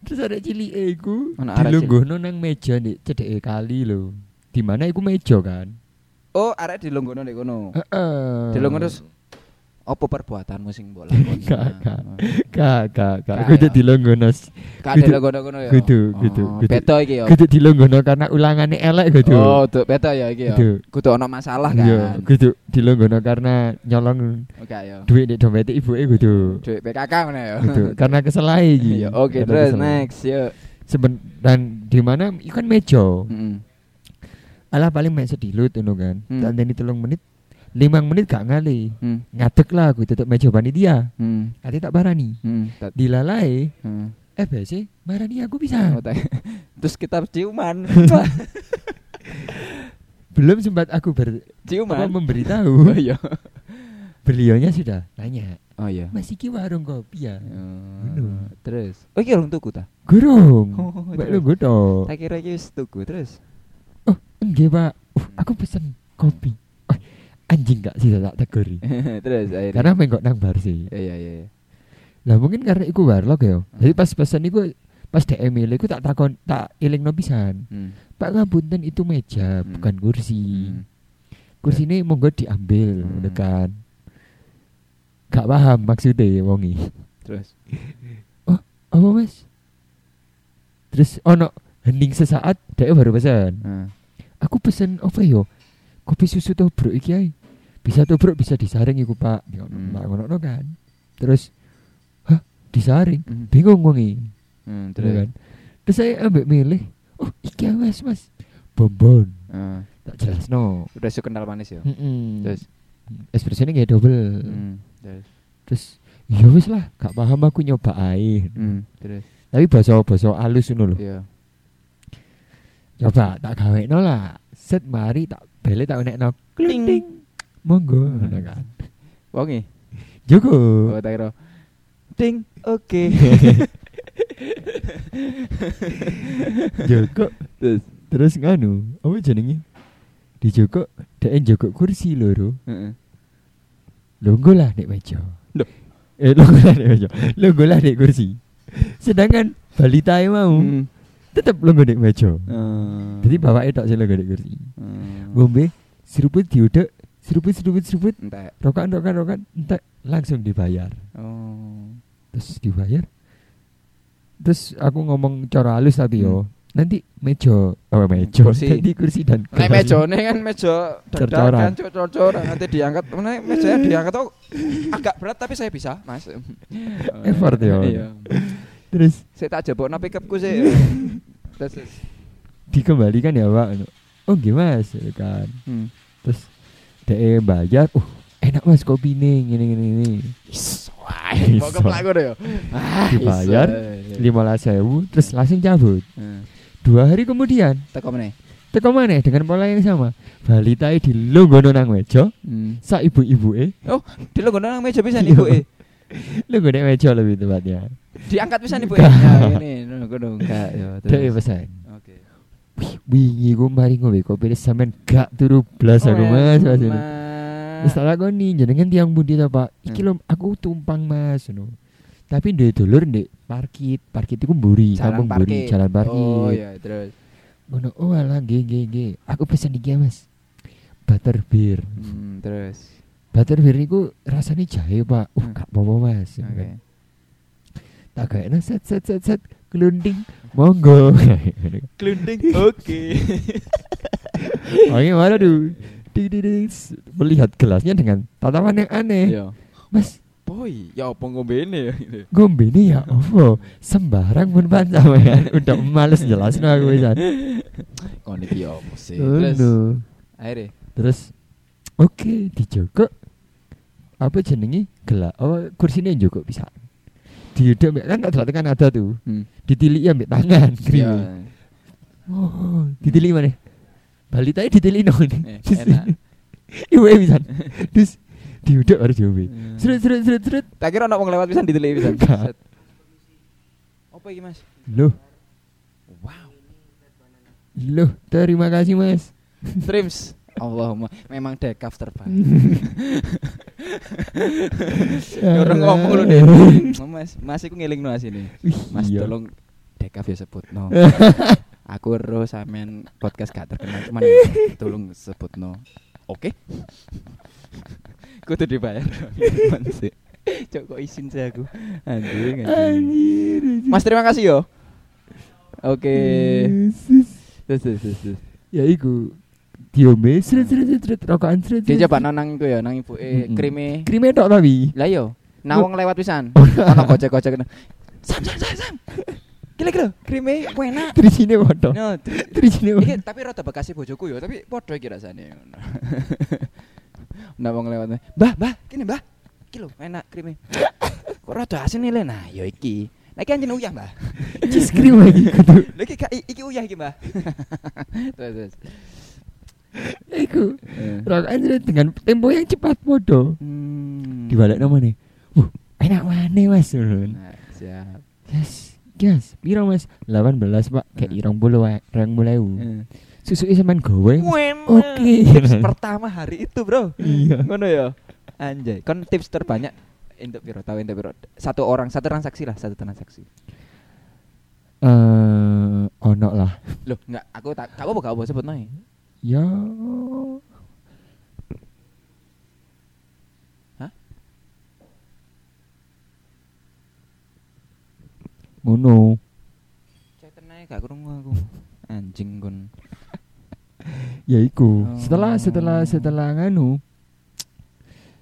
Speaker 3: Terus ada cili iku
Speaker 4: Ono arek
Speaker 3: dilungguhno nang meja ndek cedeke kali lho. Di mana iku meja kan?
Speaker 4: Oh, arek dilunggono nek kono.
Speaker 3: Heeh.
Speaker 4: Dilunggono terus apa perbuatanmu sing mbok lakoni?
Speaker 3: Gak, gak. Kak, kak,
Speaker 4: Gak,
Speaker 3: kak, kudu
Speaker 4: ya.
Speaker 3: dilungguhno.
Speaker 4: Gak
Speaker 3: Gitu,
Speaker 4: dilunggono-gono ya.
Speaker 3: gitu, gitu,
Speaker 4: Oh,
Speaker 3: gitu.
Speaker 4: Beto iki ya.
Speaker 3: Kudu dilungguhno karena ulangane elek kudu.
Speaker 4: Oh, tuh beto ya iki ya.
Speaker 3: Gitu.
Speaker 4: Kudu ono masalah kan.
Speaker 3: Iya, kudu dilungguhno karena nyolong
Speaker 4: Oke ya.
Speaker 3: duit di dompet ibuke kudu.
Speaker 4: Duit PKK mana ya.
Speaker 3: Gitu, karena kesalahan iki.
Speaker 4: Iya, Oke,
Speaker 3: Karena
Speaker 4: terus
Speaker 3: kesalahan.
Speaker 4: next yuk.
Speaker 3: Seben- dan di mana ikan meja.
Speaker 4: Heeh.
Speaker 3: Alah paling mek sedilut ngono kan.
Speaker 4: Hmm.
Speaker 3: Dan ini telung menit, limang menit gak ngali.
Speaker 4: Hmm.
Speaker 3: Ngadek lah aku tutup meja panitia.
Speaker 4: Hmm.
Speaker 3: Nanti tak barani.
Speaker 4: Hmm. tat-
Speaker 3: Dilalai,
Speaker 4: hmm.
Speaker 3: eh biasa barani
Speaker 4: Ah,
Speaker 3: aku bisa.
Speaker 4: otak. Terus kita ciuman.
Speaker 3: Belum sempat aku ber apa,
Speaker 4: ciuman. Oh
Speaker 3: memberitahu.
Speaker 4: iya.
Speaker 3: Beliaunya sudah tanya.
Speaker 4: Oh iya.
Speaker 3: Masih ki warung kopi ya?
Speaker 4: Eh, Terus. Oh iki orang tuku ta?
Speaker 3: Gurung.
Speaker 4: Oh,
Speaker 3: Mbak
Speaker 4: terus.
Speaker 3: lu godo.
Speaker 4: Tak kira iki wis tuku terus.
Speaker 3: Oh, enggak Pak. Uh, aku pesen kopi. Oh, anjing gak sih tak tegori.
Speaker 4: terus akhirnya.
Speaker 3: Karena menggok nang bar sih.
Speaker 4: iya iya iya.
Speaker 3: Lah mungkin karena iku warlock ya.
Speaker 4: Hmm.
Speaker 3: Jadi pas pesan iku pas DM ile iku tak takon tak ilingno pisan.
Speaker 4: Hmm.
Speaker 3: Pak ngapunten itu meja,
Speaker 4: Hmm.
Speaker 3: bukan kursi.
Speaker 4: Hmm. Ya.
Speaker 3: Kursi ini monggo diambil,
Speaker 4: Hmm.
Speaker 3: hmm. kan. Gak paham maksudnya wongi.
Speaker 4: Terus.
Speaker 3: Apa mas? Terus ono hening sesaat, dia baru pesan.
Speaker 4: Heeh.
Speaker 3: Aku pesen apa yo? Kopi susu tobruk iki ae. Bisa tobruk bisa disaring iku pak. Ya,
Speaker 4: Hmm.
Speaker 3: Pak ngono kan. Terus, hah disaring? Bingung wongi.
Speaker 4: Hmm,
Speaker 3: Terus
Speaker 4: terus.
Speaker 3: kan. Terus saya ambek milih, oh iki awas mas, bonbon.
Speaker 4: Heeh.
Speaker 3: Tak jelas no.
Speaker 4: Eh, Udah suka kenal manis ya.
Speaker 3: Mm-mm. Mm.
Speaker 4: Terus.
Speaker 3: espresso ini kayak double.
Speaker 4: Hmm, Terus.
Speaker 3: Terus ya wis lah, gak paham aku nyoba ae.
Speaker 4: Hmm, Terus.
Speaker 3: Tapi bahasa bahasa halus ngono lho.
Speaker 4: Iya.
Speaker 3: Coba tak gawe no lah. Set mari tak beli tak unek no.
Speaker 4: Ting.
Speaker 3: Monggo ngono kan.
Speaker 4: Wongi.
Speaker 3: Joko.
Speaker 4: Oh, tak kira. Ting, oke.
Speaker 3: Joko
Speaker 4: Terus.
Speaker 3: terus nganu, apa jenenge? Di Joko, dhek Joko kursi loro.
Speaker 4: Heeh.
Speaker 3: Lunggu lah nek meja.
Speaker 4: Loh.
Speaker 3: Eh lunggu lah nek meja. Lunggu lah nek kursi. Sedangkan balita yang mau
Speaker 4: Hmm.
Speaker 3: tetep lunggu nek meja.
Speaker 4: Eh,
Speaker 3: Mm. Jadi bapaknya tak sih lunggu nek kursi.
Speaker 4: eh,
Speaker 3: Ngombe seruput diudek, seruput seruput seruput,
Speaker 4: entek.
Speaker 3: rokan rokan rokan, entek langsung dibayar.
Speaker 4: Oh.
Speaker 3: Terus dibayar. Terus aku ngomong cara halus tapi yo. Nanti meja, oh meja,
Speaker 4: Hmm. Kursi.
Speaker 3: nanti kursi dan
Speaker 4: Nek
Speaker 3: gelas.
Speaker 4: mejone kan meja
Speaker 3: Cor-coran.
Speaker 4: dadakan cocor-coran nanti diangkat. Nek mejanya diangkat oh, agak berat tapi saya bisa, Mas.
Speaker 3: Effort ya.
Speaker 4: Iya.
Speaker 3: Terus
Speaker 4: Saya tak jebokno pick-upku sih. Terus terus.
Speaker 3: dikembalikan ya pak. Oh gimana mas, gitu kan.
Speaker 4: Hmm.
Speaker 3: terus dia bayar uh enak mas kopi nih gini gini gini
Speaker 4: Iswai. Mau
Speaker 3: Iso.
Speaker 4: keplak gue ya. Ah,
Speaker 3: Dibayar,
Speaker 4: iso.
Speaker 3: lima belas sewu terus langsung cabut
Speaker 4: Hmm.
Speaker 3: dua hari kemudian
Speaker 4: Teko meneh.
Speaker 3: teko mana dengan pola yang sama balita di lunggono nang meja
Speaker 4: Hmm.
Speaker 3: sa ibu ibu eh
Speaker 4: Oh, di lo nang meja pisan
Speaker 3: Iya.
Speaker 4: ibu e.
Speaker 3: lunggono nang meja lebih tepatnya
Speaker 4: Diangkat pisan ibu e. Ya
Speaker 3: Enggak.
Speaker 4: ini nang kono enggak ya.
Speaker 3: dia
Speaker 4: terus.
Speaker 3: pesan
Speaker 4: Oke.
Speaker 3: "Wih, wingi ku mari ngombe kopi wis sampean gak turu blas
Speaker 4: Oh,
Speaker 3: aku
Speaker 4: ya,
Speaker 3: mas mas ini." Wis tak lakoni jenengan tiang budi ta Pak.
Speaker 4: Hmm.
Speaker 3: Iki lho aku tumpang Mas ngono. Tapi ndek dulur ndek parkit, parkit iku mburi,
Speaker 4: Jalan
Speaker 3: kampung mburi,
Speaker 4: parkir.
Speaker 3: jalan parkit.
Speaker 4: Oh iya, terus.
Speaker 3: Ngono, oh alah nggih nggih nggih. Aku pesen iki ya, Mas. Butter beer.
Speaker 4: Hmm, terus.
Speaker 3: Butter beer niku rasane jahe, Pak. Uh,
Speaker 4: Hmm.
Speaker 3: gak apa-apa Mas. kan.
Speaker 4: Oke.
Speaker 3: Tak gawe set set set set kelunding. Monggo. kan.
Speaker 4: Glunding. Oke.
Speaker 3: Oke, mana tuh? Di, di, di, s- melihat gelasnya dengan tatapan yang aneh.
Speaker 4: Iya.
Speaker 3: Mas,
Speaker 4: Boy, ya apa ngombene ya gitu.
Speaker 3: Gombe ini ya opo sembarang pun pancaman udah males jelas aku bisa
Speaker 4: Kon iki ya apa sih? Terus
Speaker 3: terus
Speaker 4: akhirnya
Speaker 3: terus oke dijogo apa jenengi gelak oh kursinya juga bisa dihidung mbek- kan tak delok kan ada tuh.
Speaker 4: Hmm.
Speaker 3: Ditilik ya mbek tangan.
Speaker 4: Iya.
Speaker 3: Oh, ditilik mana? Bali tadi ditilik no.
Speaker 4: Eh, Enak.
Speaker 3: Iwe bisa. Terus diudak baru diombe.
Speaker 4: Hmm.
Speaker 3: Serut serut serut serut.
Speaker 4: Tak kira ono wong lewat pisan diteliti pisan.
Speaker 3: Gak.
Speaker 4: Set. Apa iki, Mas?
Speaker 3: Loh,
Speaker 4: Wow.
Speaker 3: loh, terima kasih Mas.
Speaker 4: Trims. Allahumma, memang dekaf terbaik. Ya Orang ngomong lu deh. Mas, Mas iku ngeling no asine. Mas
Speaker 3: iya.
Speaker 4: tolong dekaf ya sebut no.
Speaker 3: Eh.
Speaker 4: Aku ero sampean podcast gak terkenal cuman ya, tolong sebut no. Oke. Kudu dibayar. Mas. Cok kok izin saya aku. Anjing. anjing.
Speaker 3: Anjir.
Speaker 4: Mas terima kasih yo. Oke.
Speaker 3: Yesus.
Speaker 4: Terus terus terus. terus.
Speaker 3: Ya iku diombe serut serut serut, serut rokokan serut.
Speaker 4: Dia
Speaker 3: serut,
Speaker 4: coba
Speaker 3: serut.
Speaker 4: no nang iku ya, nang ibu eh
Speaker 3: Mm-mm.
Speaker 4: krime.
Speaker 3: Krime tok tapi.
Speaker 4: Lah yo, nawang lewat pisan.
Speaker 3: Ora.
Speaker 4: Ono gojek-gojek. kena. Sam sam sam sam. Gila gila, krime ku enak.
Speaker 3: Trisine foto.
Speaker 4: No, tri-
Speaker 3: Trisine
Speaker 4: iki
Speaker 3: foto.
Speaker 4: tapi rada bekasi bojoku yo, tapi padha iki rasane. Nah wong lewat, "Mbah, mbah, kene mbah." Iki lho enak krime. Kok rada asin nih, Le? Nah, yo iki. Nah, iki anjen uyah, Mbah.
Speaker 3: Cis krim lagi kudu.
Speaker 4: Lah iki gak- i- iki uyah iki, Mbah. Terus terus.
Speaker 3: Iku
Speaker 4: Eh.
Speaker 3: rokokan serut dengan tempo yang cepat foto.
Speaker 4: Hmm.
Speaker 3: Dibalik nama nih. Wuh, enak mana Mas? Ngono.
Speaker 4: Nah, siap.
Speaker 3: Yes, yes. Piro mas? 18 pak. Kayak irang bulu rang mulai.
Speaker 4: Eh.
Speaker 3: Susu semen gawe. Mas.
Speaker 4: Wena.
Speaker 3: Oke.
Speaker 4: Tips pertama hari itu, Bro.
Speaker 3: Iya.
Speaker 4: Ngono ya. Anjay, kon tips terbanyak untuk piro tahu untuk piro. Satu orang, satu transaksi lah, satu transaksi.
Speaker 3: Eh, ono lah.
Speaker 4: Loh, enggak, aku tak gak apa-apa, gak apa sebut naik.
Speaker 3: Ya.
Speaker 4: Hah?
Speaker 3: Ngono.
Speaker 4: Cek naik gak krungu aku. Anjing kon.
Speaker 3: Ya iku.
Speaker 4: Oh.
Speaker 3: Setelah setelah setelah nganu.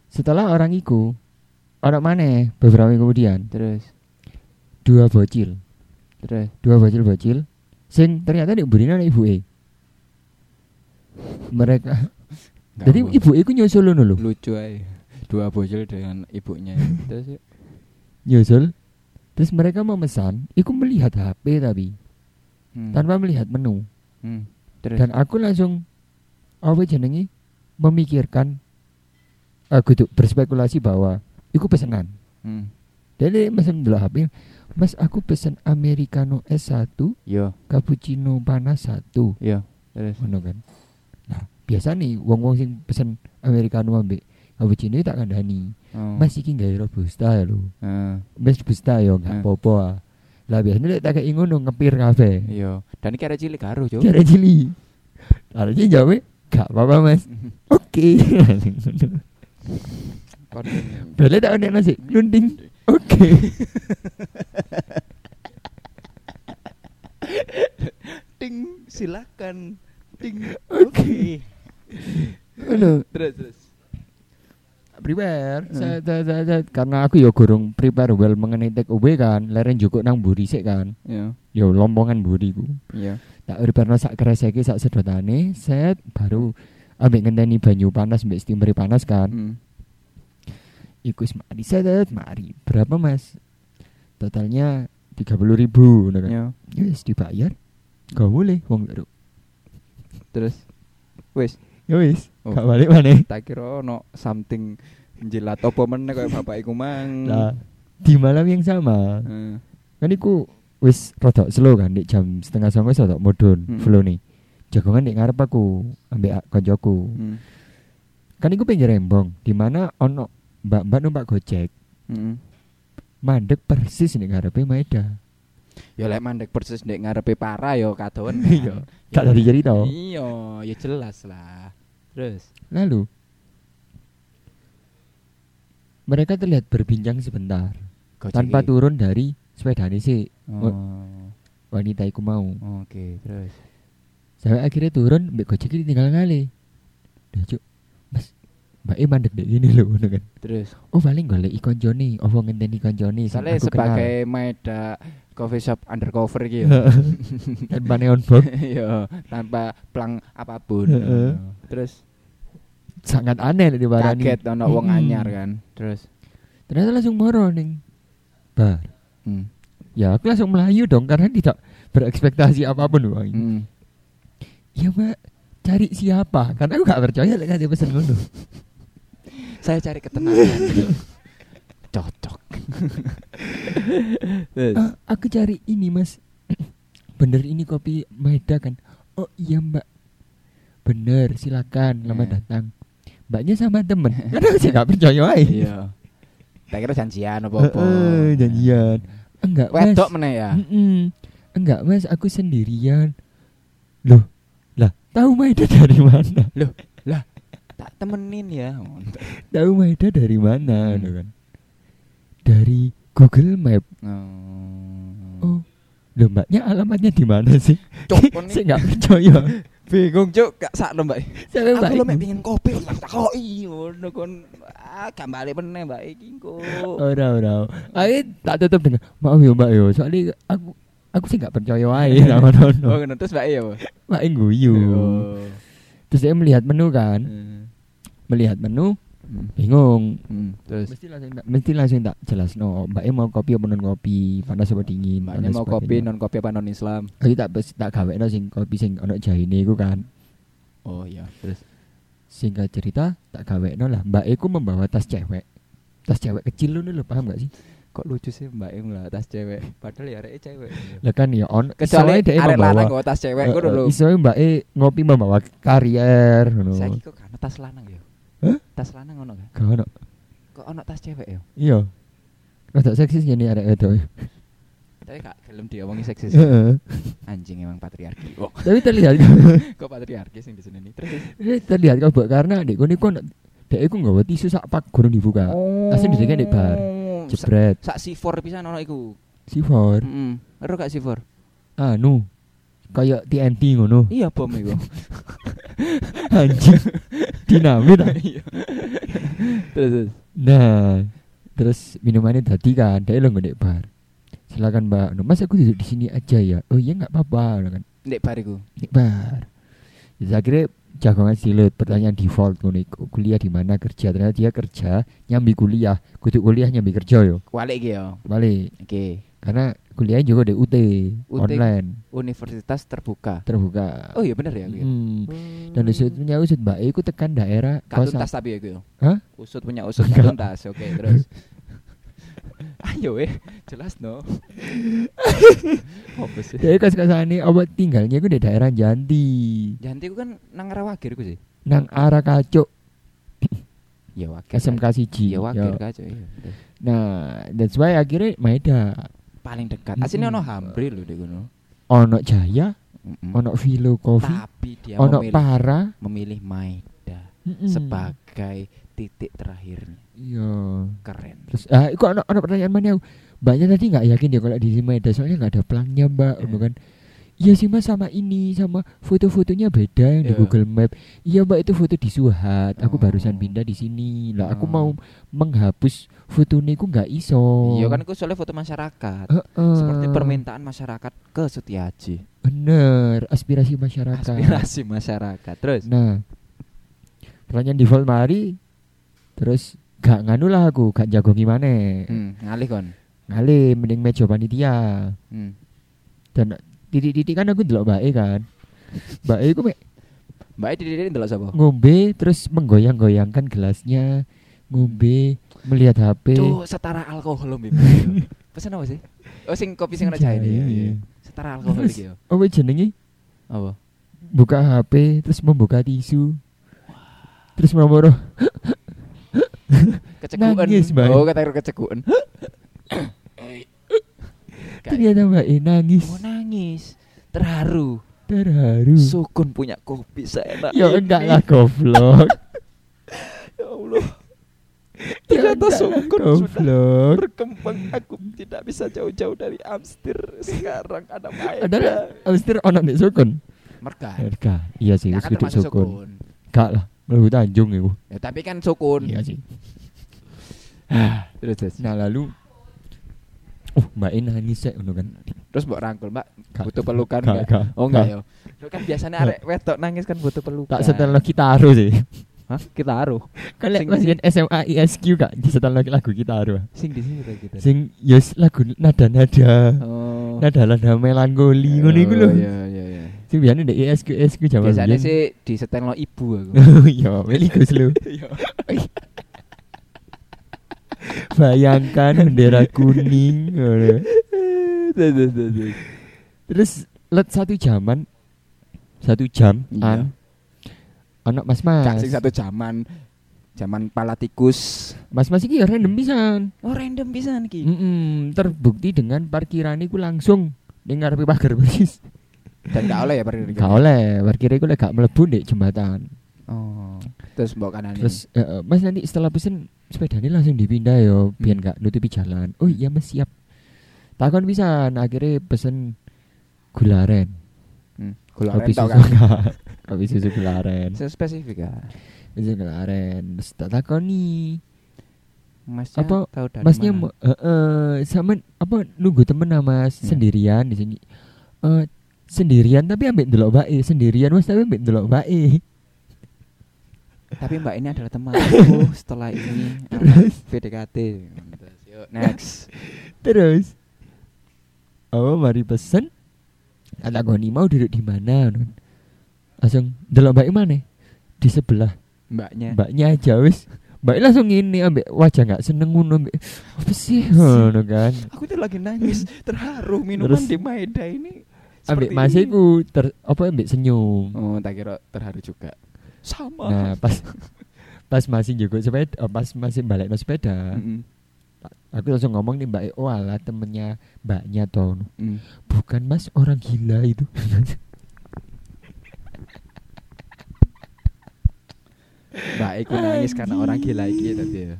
Speaker 3: Setelah orang iku. Orang mana? Beberapa minggu kemudian.
Speaker 4: Terus,
Speaker 3: Dua bocil.
Speaker 4: terus.
Speaker 3: dua bocil-bocil sing ternyata diberi anak ibu e mereka jadi
Speaker 4: Gak apa.
Speaker 3: ibu e ku nyusul ngono lho
Speaker 4: lucu aja. Dua bocil dengan ibunya. Terus ya? yuk.
Speaker 3: nyusul Ya, terus mereka memesan iku melihat HP tapi
Speaker 4: Hmm.
Speaker 3: tanpa melihat menu
Speaker 4: Hmm. Terus.
Speaker 3: dan aku langsung apa jenengi memikirkan aku tuh berspekulasi bahwa iku pesenan
Speaker 4: Hmm.
Speaker 3: jadi mesen dulu HP Mas aku pesen americano S1
Speaker 4: Yo,
Speaker 3: cappuccino panas satu
Speaker 4: yo. Terus.
Speaker 3: ngono kan. Nah, biasa nih wong-wong sing pesen americano ambek cappuccino tak kandhani.
Speaker 4: Oh.
Speaker 3: Mas iki gawe robusta ya lho.
Speaker 4: Eh,
Speaker 3: Mas robusta ya
Speaker 4: Eh.
Speaker 3: gak apa-apa. ah. Lah biasanya lek tak kei ngono ngepir kabeh.
Speaker 4: Yo. Dan iki arek cilik karo, Cuk.
Speaker 3: Cara cili. Artinya jawe gak apa-apa Mas. Oke.
Speaker 4: Kon.
Speaker 3: Boleh tak ada nasi lunding. Oke.
Speaker 4: Ting, silakan. Ting.
Speaker 3: Oke. Ngono.
Speaker 4: Terus, terus.
Speaker 3: prepare
Speaker 4: Hmm.
Speaker 3: Set, set, set, set. karena aku ya gorong prepare well mengenai take away kan leren jukuk nang mburi sik kan
Speaker 4: Yo.
Speaker 3: ya lompongan mburi ku
Speaker 4: Iya.
Speaker 3: tak prepare sak kreseki sak sedotane set baru ambek ngenteni banyu panas ambek steamer panas kan
Speaker 4: Hmm.
Speaker 3: iku wis mari set, set, mari berapa mas totalnya 30.000 ribu kan
Speaker 4: Iya.
Speaker 3: ya wis dibayar gak boleh wong loro
Speaker 4: Terus wis
Speaker 3: ya wis
Speaker 4: Oh.
Speaker 3: gak balik mana
Speaker 4: tak kira ono something jilat apa meneh kaya bapak iku mang.
Speaker 3: nah di malam yang sama
Speaker 4: Heeh.
Speaker 3: kan iku wis rada slow kan di jam setengah songo wis rada modern
Speaker 4: Hmm.
Speaker 3: flow nih jagongan di ngarep aku ambek ak- koncoku
Speaker 4: Hmm.
Speaker 3: kan iku pinggir rembong di mana ono mbak mbak numpak gojek
Speaker 4: Heeh.
Speaker 3: mandek persis nih ngarepe Maeda
Speaker 4: Ya lek mandek persis ndek ngarepe para ya kadoen.
Speaker 3: Iya. tak tadi cerita
Speaker 4: Iya, ya jelas lah. Terus.
Speaker 3: lalu mereka terlihat berbincang sebentar
Speaker 4: Gojek
Speaker 3: tanpa
Speaker 4: iki.
Speaker 3: turun dari sepeda si
Speaker 4: Oh,
Speaker 3: wanita iku mau
Speaker 4: Oke, terus.
Speaker 3: sampai akhirnya turun mbak gojek ini tinggal ngale Dah, Cuk, mas mbak E mandek dek ini loh ngono kan
Speaker 4: Terus.
Speaker 3: Oh paling golek koncone, apa ngenteni koncone sing
Speaker 4: Soalnya
Speaker 3: aku
Speaker 4: sebagai Maeda coffee shop undercover gitu.
Speaker 3: kenal. tanpa neon box
Speaker 4: Iya, tanpa plang apapun.
Speaker 3: Heeh.
Speaker 4: Terus
Speaker 3: sangat aneh di barani. Hmm.
Speaker 4: kaget ono wong kan.
Speaker 3: Mm-mm.
Speaker 4: anyar kan. Terus
Speaker 3: Ternyata langsung moro ning bar.
Speaker 4: Hmm.
Speaker 3: ya aku langsung melayu dong karena tidak berekspektasi apapun wong
Speaker 4: Hmm.
Speaker 3: ya mbak cari siapa karena aku gak percaya lek nanti pesen ngono
Speaker 4: Saya cari ketenangan.
Speaker 2: Cocok.
Speaker 4: Terus.
Speaker 3: "Eh, aku cari ini mas bener ini kopi Maeda kan oh iya mbak bener
Speaker 4: Eh.
Speaker 3: silakan lama datang mbaknya sama temen karena aku sih gak percaya aja
Speaker 4: Iya. Tak kira janjian apa-apa.
Speaker 3: Heeh, Eh, janjian enggak mas
Speaker 4: Wedok meneh ya.
Speaker 3: Mm-mm. enggak mas aku sendirian loh lah tahu Maeda dari mana
Speaker 4: Tak temenin ya.
Speaker 3: tahu Maeda dari mana
Speaker 4: Hmm.
Speaker 3: gitu kan dari Google Map
Speaker 4: Oh.
Speaker 3: oh loh mbaknya alamatnya di mana sih
Speaker 4: Cok,
Speaker 3: saya nggak percaya
Speaker 4: bingung cuk, gak sakno mbak.
Speaker 3: saya
Speaker 4: Aku lo mek
Speaker 3: mbak
Speaker 4: pingin kopi lho tak takoki ngono kon. Ah, gak balik meneh mbak iki engko.
Speaker 3: ora ora ayo tak tutup dengan maaf ya mbak yo soalnya aku aku sih nggak percaya aja sama
Speaker 4: Oh,
Speaker 3: Nono
Speaker 4: ngono terus mbak ya. Mbak?
Speaker 3: mbak guyu
Speaker 4: Oh. Eh.
Speaker 3: terus saya melihat menu kan melihat menu bingung
Speaker 4: Hmm, Terus
Speaker 3: mesti langsung tak, mesti langsung tak jelas no mbaknya mau kopi apa non kopi panas apa dingin
Speaker 4: mbaknya
Speaker 3: panas
Speaker 4: mau
Speaker 3: apa
Speaker 4: kopi
Speaker 3: dingin.
Speaker 4: non kopi apa non Islam?
Speaker 3: Aku tak pes- tak gawe sing kopi sing ono jahine iku kan
Speaker 4: Oh iya, terus.
Speaker 3: singkat cerita tak gawe lah mbak Iku membawa tas cewek tas cewek kecil lu lho paham gak sih
Speaker 4: Kok lucu sih mbak Im lah tas cewek. Padahal ya arek cewek.
Speaker 3: lah kan ya on
Speaker 4: Kecuali
Speaker 3: isoe dhek
Speaker 4: arek
Speaker 3: membawa-
Speaker 4: lanang kok tas cewek
Speaker 3: Eh,
Speaker 4: ngono
Speaker 3: eh,
Speaker 4: lho.
Speaker 3: isoe mbak E ngopi membawa karier ngono
Speaker 4: Saya kok gak ono tas lanang ya.
Speaker 3: Hah?
Speaker 4: Tas lanang ono gak?
Speaker 3: Gak ono
Speaker 4: Kok ono tas cewek ya?
Speaker 3: iya Rada seksis gini arek wedok. e.
Speaker 4: Tapi gak gelem diomongi seksis.
Speaker 3: Heeh.
Speaker 4: Anjing emang patriarki. Oh,
Speaker 3: Tapi terlihat
Speaker 4: kok patriarki sing di sini nih? Terus.
Speaker 3: terlihat kau karena dek kau kau dek aku nggak tisu sak pak kurang dibuka. Tasnya didekek di bar.
Speaker 4: Oh, Sak
Speaker 3: Jebret.
Speaker 4: sak sivor pisan ono iku.
Speaker 3: Sivor.
Speaker 4: Heeh. Ero gak sivor?
Speaker 3: Anu. Kayak TNT ngono.
Speaker 4: Iya bom iku.
Speaker 3: Anjing. Dinamit. ah.
Speaker 4: Iya. Terus. terus.
Speaker 3: Nah, terus minumannya tadi kan, dia lo ngedek bar. Silakan mbak, Nah, mas aku duduk di sini aja ya. Oh iya nggak apa-apa, Lah kan.
Speaker 4: Ndek bar iku.
Speaker 3: Ngedek bar. Terus akhirnya jagongan silut, pertanyaan default ngono iku. kuliah di mana kerja ternyata dia kerja nyambi kuliah kudu kuliah nyambi kerja yo
Speaker 4: Walik iki ya.
Speaker 3: balik
Speaker 4: Oke.
Speaker 3: karena kuliah juga di UT, online
Speaker 4: Universitas terbuka.
Speaker 3: terbuka
Speaker 4: Oh iya bener ya aku. ya.
Speaker 3: Hmm. dan usut punya usut mbak iku tekan daerah
Speaker 4: Gak
Speaker 3: kosan.
Speaker 4: tuntas tapi ya gue.
Speaker 3: Hah?
Speaker 4: Usut punya usut gak tuntas. Oke, terus. Ayo eh, jelas no. Apa sih?
Speaker 3: Jadi kos kosannya awak tinggalnya iku di daerah Janti
Speaker 4: Janti ku kan nang Rawagir ku sih.
Speaker 3: nang arah kacuk
Speaker 4: Ya wakil.
Speaker 3: SMK siji.
Speaker 4: Ya wakil
Speaker 3: Yo.
Speaker 4: kaca. iya.
Speaker 3: Nah, that's why akhirnya Maeda
Speaker 4: Paling dekat. Asine ono
Speaker 3: Mm-mm.
Speaker 4: Hamri lho di kono.
Speaker 3: ono Jaya,
Speaker 4: Mm-mm.
Speaker 3: ono Vilo Coffee,
Speaker 4: Tapi dia
Speaker 3: ono
Speaker 4: memilih
Speaker 3: Mm. Para
Speaker 4: memilih Maida
Speaker 3: mm-mm.
Speaker 4: sebagai titik terakhirnya.
Speaker 3: Iya.
Speaker 4: Keren.
Speaker 3: Terus ah iku ono ono pertanyaan mana aku. Mbaknya tadi nggak yakin ya kalau di Maeda soalnya nggak ada pelangnya Mbak,
Speaker 4: Eh.
Speaker 3: bukan? Iya sih mas sama ini sama foto-fotonya beda yang di
Speaker 4: Iya.
Speaker 3: Google Map. Iya mbak itu foto di Suhat.
Speaker 4: Oh.
Speaker 3: Aku barusan pindah di sini. Lah aku
Speaker 4: Oh.
Speaker 3: mau menghapus foto niku nggak iso.
Speaker 4: Iya kan aku soalnya foto masyarakat.
Speaker 3: Heeh.
Speaker 4: Seperti permintaan masyarakat ke Setiaji.
Speaker 3: Bener aspirasi masyarakat.
Speaker 4: Aspirasi masyarakat. Terus.
Speaker 3: Nah, pertanyaan default mari terus gak nganu lah aku, gak jago gimana.
Speaker 4: Hmm, ngalih kon.
Speaker 3: Ngalih mending meja panitia.
Speaker 4: Hmm.
Speaker 3: Dan titik-titik kan aku delok Mbak E kan. Mbak E ku mek
Speaker 4: Mbak Edi Didi ndelok sapa?
Speaker 3: ngombe terus menggoyang-goyangkan gelasnya, ngombe melihat HP.
Speaker 4: Cuk, setara alkohol Mbak. Pesan apa sih? Oh, sing kopi sing ana
Speaker 3: Jahe.
Speaker 4: jahe. Iya, iya. Setara alkohol
Speaker 3: Terus-
Speaker 4: iki yo.
Speaker 3: Oh, weh, jenenge
Speaker 4: Apa?
Speaker 3: buka HP terus membuka tisu. Terus memoro
Speaker 4: Kecekuan.
Speaker 3: Nangis, Mbak.
Speaker 4: Oh, kata kecekuan. Kayak-
Speaker 3: ternyata Mbak E nangis
Speaker 4: Oh, nangis. Terharu. Hmm.
Speaker 3: terharu.
Speaker 4: Sukun punya kopi seenak.
Speaker 3: Ya
Speaker 4: ini.
Speaker 3: enggak lah goblok.
Speaker 4: Ya Allah.
Speaker 3: Ya
Speaker 4: Ternyata
Speaker 3: enggak lah,
Speaker 4: sukun sudah
Speaker 3: goblok.
Speaker 4: berkembang aku tidak bisa jauh-jauh dari Amstir sekarang ada Maeda
Speaker 3: Ada abis itu ono nek sukun.
Speaker 4: mereka kan
Speaker 3: Mereka. Iya sih, wis kudu
Speaker 4: termasuk
Speaker 3: sukun. Gak lah, mlebu Tanjung iku.
Speaker 4: Ya, tapi kan sukun
Speaker 3: Iya sih.
Speaker 4: terus terus
Speaker 3: Nah, lalu Oh, Mbak E nangis sek ngono kan.
Speaker 4: terus mbok rangkul mbak
Speaker 3: Gak-
Speaker 4: butuh pelukan
Speaker 3: gak-
Speaker 4: nggak?
Speaker 3: gak-
Speaker 4: oh enggak
Speaker 3: gak.
Speaker 4: ya Lu kan biasanya arek wedok nangis kan butuh pelukan
Speaker 3: Tak setel kita harus sih.
Speaker 4: Hah? Kita aruh.
Speaker 3: Nah. Kan lek
Speaker 4: Sing-
Speaker 3: pas yen SMA ISQ gak disetelno lagu kita aruh.
Speaker 4: Sing di sini kita.
Speaker 3: Sing yus lagu nada-nada.
Speaker 4: Oh.
Speaker 3: Nada-nada melankoli ngono iku lho.
Speaker 4: Oh, Iya iya iya.
Speaker 3: Sing biyen ndek ISQ ISQ jaman
Speaker 4: Biasanya
Speaker 3: biyen.
Speaker 4: sih di setel lo ibu aku.
Speaker 3: Yo, weli Oh, iya, Gus lu.
Speaker 4: Iya.
Speaker 3: Bayangkan bendera kuning ngono.
Speaker 4: Tuh, tuh, tuh, tuh.
Speaker 3: Terus let satu jaman satu jam
Speaker 4: Iya.
Speaker 3: an anak mas mas
Speaker 4: Cak sing satu zaman zaman palatikus.
Speaker 3: mas mas iki ya random pisan
Speaker 4: Oh random pisan ki.
Speaker 3: Mm-mm, terbukti dengan parkiran iku langsung ning ngarepe pagar persis
Speaker 4: Dan gak oleh ya pergi.
Speaker 3: gak oleh parkirnya iku lek gak mlebu ndek jembatan
Speaker 4: Oh. Terus mbok kanan.
Speaker 3: terus eh, eh, mas nanti setelah pesen sepedanya langsung dipindah yo biar
Speaker 4: Hmm.
Speaker 3: gak nutupi jalan oh iya mas siap takon pisan akhirnya pesen gularen
Speaker 4: Hmm. Gula
Speaker 3: kopi
Speaker 4: rentok
Speaker 3: susu
Speaker 4: kan.
Speaker 3: kopi susu gularen
Speaker 4: Saya spesifik ya.
Speaker 3: susu gularen terus tak takoni
Speaker 4: Masnya
Speaker 3: Apa,
Speaker 4: tahu dari
Speaker 3: Masnya
Speaker 4: mana?
Speaker 3: mau- eh, eh, sama apa nunggu temen lah Mas
Speaker 4: Hmm.
Speaker 3: sendirian di sini. Eh, sendirian tapi ambek ndelok bae, sendirian Mas tapi ambek ndelok bae.
Speaker 4: Tapi Mbak ini adalah teman aku setelah ini Terus PDKT. Terus, yuk, Next.
Speaker 3: Terus Oh, mari pesen. Ada goni mau duduk di mana? Nun? Langsung ndelok bae mana? Di sebelah
Speaker 4: Mbaknya.
Speaker 3: mbaknya aja wis. Mbak langsung ini ambek wajah nggak seneng ngono ambek apa sih ngono kan.
Speaker 4: Aku tuh lagi nangis terharu minuman
Speaker 3: Terus-
Speaker 4: di Maeda ini.
Speaker 3: Ambek
Speaker 4: seperti
Speaker 3: mas
Speaker 4: ini.
Speaker 3: iku ter apa ambek senyum.
Speaker 4: Oh, tak kira terharu juga. Sama.
Speaker 3: Nah, pas pas masih juga sepeda, oh, pas masih balik sepeda,
Speaker 4: Mm-mm.
Speaker 3: aku langsung ngomong nih Mbak E, oh ala temennya Mbaknya toh.
Speaker 4: Mm.
Speaker 3: Bukan Mas orang gila itu.
Speaker 4: Mbak aku nangis karena orang gila iki tadi. ya.